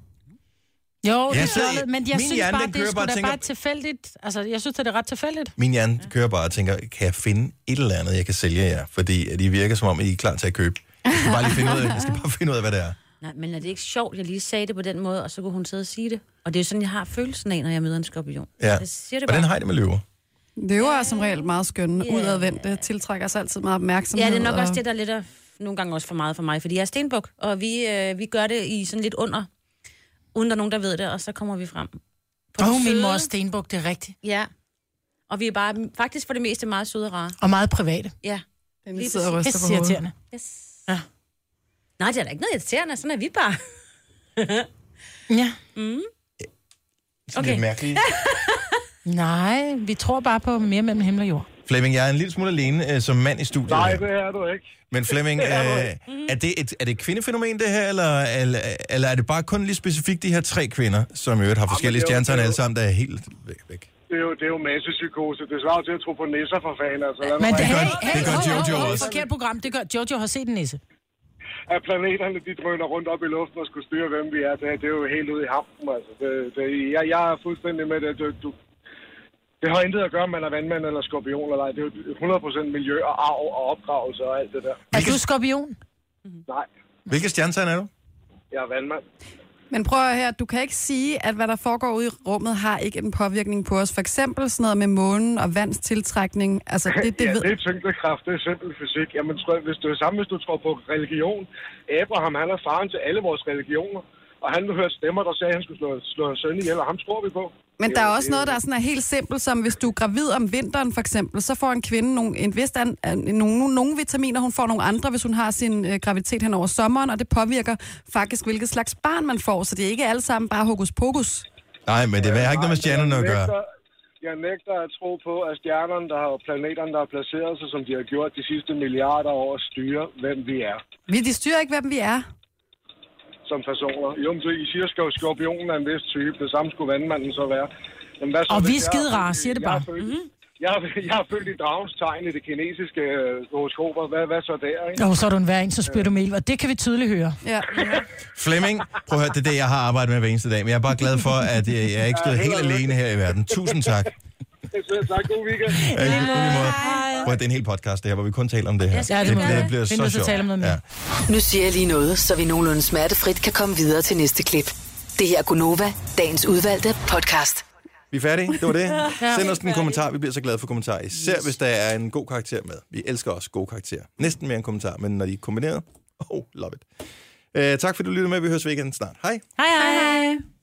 C: Jo, det
A: Jeg
C: er
A: sidder-
C: fjollet, men jeg
A: min
C: synes
A: hjerne,
C: bare,
A: den
C: det er
A: kører
C: sgu
A: bare og
C: da
A: tænker-
C: bare tilfældigt. Altså, jeg synes, det er ret tilfældigt.
A: Min hjerne kører bare og tænker, kan jeg finde et eller andet, jeg kan sælge jer? Fordi at I virker som om, I er klar til at købe. Jeg skal bare lige finde ud af, jeg skal bare finde ud af hvad det er.
D: Nej, men er det ikke sjovt, jeg lige sagde det på den måde, og så kunne hun sidde og sige det? Og det er jo sådan, jeg har følelsen af, når jeg møder en skorpion.
A: Ja.
D: Jeg siger det bare.
A: Hvordan har I det med løver?
B: Løver er som regel meget skønne, yeah. udadvendte, tiltrækker sig altid meget opmærksomhed.
D: Ja, det er nok
B: og...
D: også det, der er lidt af, nogle gange også for meget for mig, fordi jeg er stenbuk, og vi, øh, vi gør det i sådan lidt under, uden der er nogen, der ved det, og så kommer vi frem.
C: Åh,
D: den
C: min
D: søde-
C: mor er stenbuk, det er rigtigt.
D: Ja. Og vi er bare faktisk for det meste meget søde og rare.
C: Og meget private.
D: Ja.
B: Den
D: Lige
B: sidder og
D: præcis.
B: ryster på hovedet.
C: Pisseirriterende.
D: Yes.
C: Ja.
D: Nej, det er da ikke noget irriterende, sådan er vi bare.
C: ja.
D: Mm.
A: Sådan lidt mærkeligt.
C: Nej, vi tror bare på mere mellem himmel og jord.
A: Flemming, jeg er en lille smule alene øh, som mand i studiet.
K: Nej,
A: her.
K: det er du ikke.
A: Men Flemming, øh,
K: Det er du
A: er, det et, er det et kvindefænomen, det her, eller, eller, eller er det bare kun lige specifikt de her tre kvinder, som i øvrigt har forskellige
K: det er jo-
A: stjernetegn
K: det er jo-
A: alle sammen, der er helt væk? væk?
K: Det er jo, det er jo massepsykose. Det svarer jo til at tro på nisser for fanden. Altså, Lad nu
C: Men
K: være.
C: det, hey, hey,
A: det gør
C: hov, hov,
A: Jojo
C: hov,
A: også.
C: Forkert program, det gør Jojo har set en nisse.
K: At planeterne de drøner rundt op i luften og skulle styre, hvem vi er, det, det er jo helt ude i hampen. Altså. Det, det, jeg, jeg er fuldstændig med det. Du, du, det har intet at gøre, om man er vandmand eller skorpion eller ej. Det er jo 100% miljø og arv og opdragelse og alt det der.
C: Er du skorpion?
K: Nej,
A: Hvilke stjernetegn er du?
K: jeg er vandmand.
B: Men prøv at høre her, du kan ikke sige, at hvad der foregår ude i rummet, har ikke en påvirkning på os. For eksempel sådan noget med månen og vands tiltrækning. Altså, det, det
K: ja,
B: ved...
K: det er tyngdekraft, det er simpel fysik. Jamen, tror jeg, hvis det er samme, hvis du tror på religion. Abraham, han er faren til alle vores religioner. Og han hørte stemmer, der sagde, at han skulle slå, slå hans søn ihjel, og ham tror vi på.
B: Men
K: Det
B: der
K: er
B: er
K: jo-
B: også
K: det er
B: noget, der er sådan er helt simpelt, som hvis du er gravid om vinteren for eksempel, så får en kvinde nogle, en vist an, an, nogle, nogle vitaminer, hun får nogle andre, hvis hun har sin øh, graviditet hen over sommeren, og det påvirker faktisk, hvilket slags barn man får, så det er ikke alle sammen bare hokus pokus.
A: Nej, men det har ikke noget med stjernerne at gøre.
K: nægter- Jeg nægter at tro på, at stjernerne der har, og planeterne, der har placeret sig, som de har gjort de sidste milliarder år, styrer, hvem vi er
B: Vi de styrer ikke, hvem vi er.
K: som personer. Jo, men så I siger, at skorpionen er en vis type. Det samme skulle vandmanden så være. Jamen, hvad så,
C: Og
K: hvis
C: vi er
K: jeg-
C: skide rare, siger det
K: jeg er
C: bare. Mhm.
K: født- Jeg er, jeg er født i dragens tegn i det kinesiske øh, horoskoper. Hvad, hvad så der, ikke?
C: Jo, så er du en hver en, så spyr du mel, og det kan vi tydeligt høre.
B: Ja.
A: Flemming, prøv at høre, det er det, jeg har arbejdet med hver eneste dag, men jeg er bare glad for, at øh, jeg, jeg er ikke stået
K: Ja,
A: helt
K: held og
A: alene
K: lykke.
A: her i verden. Tusind tak.
K: Selv tak. God weekend.
A: Ja, i lige måde. Prøv at det er en hel podcast, det her, hvor vi kun taler om det her.
F: Ja, det må vi.
A: det,
F: Vi
A: bliver
F: er
A: så
F: nødt til
A: sjovt.
F: at tale om noget mere.
A: Ja.
F: Nu siger jeg lige noget, så vi nogenlunde smertefrit kan komme videre til næste klip. Det her er Gunova, dagens udvalgte podcast.
A: Vi er færdige, det var det.
F: Ja.
A: Send os en kommentar, vi bliver så glade for kommentarer. Især hvis der er en god karakter med. Vi elsker også gode karakterer. Næsten mere en kommentar, men når de er Øh, kombineret, oh, love it. Uh, tak fordi du lyttede med, vi høres ved igen snart. Hej.
D: Hej hej. hej.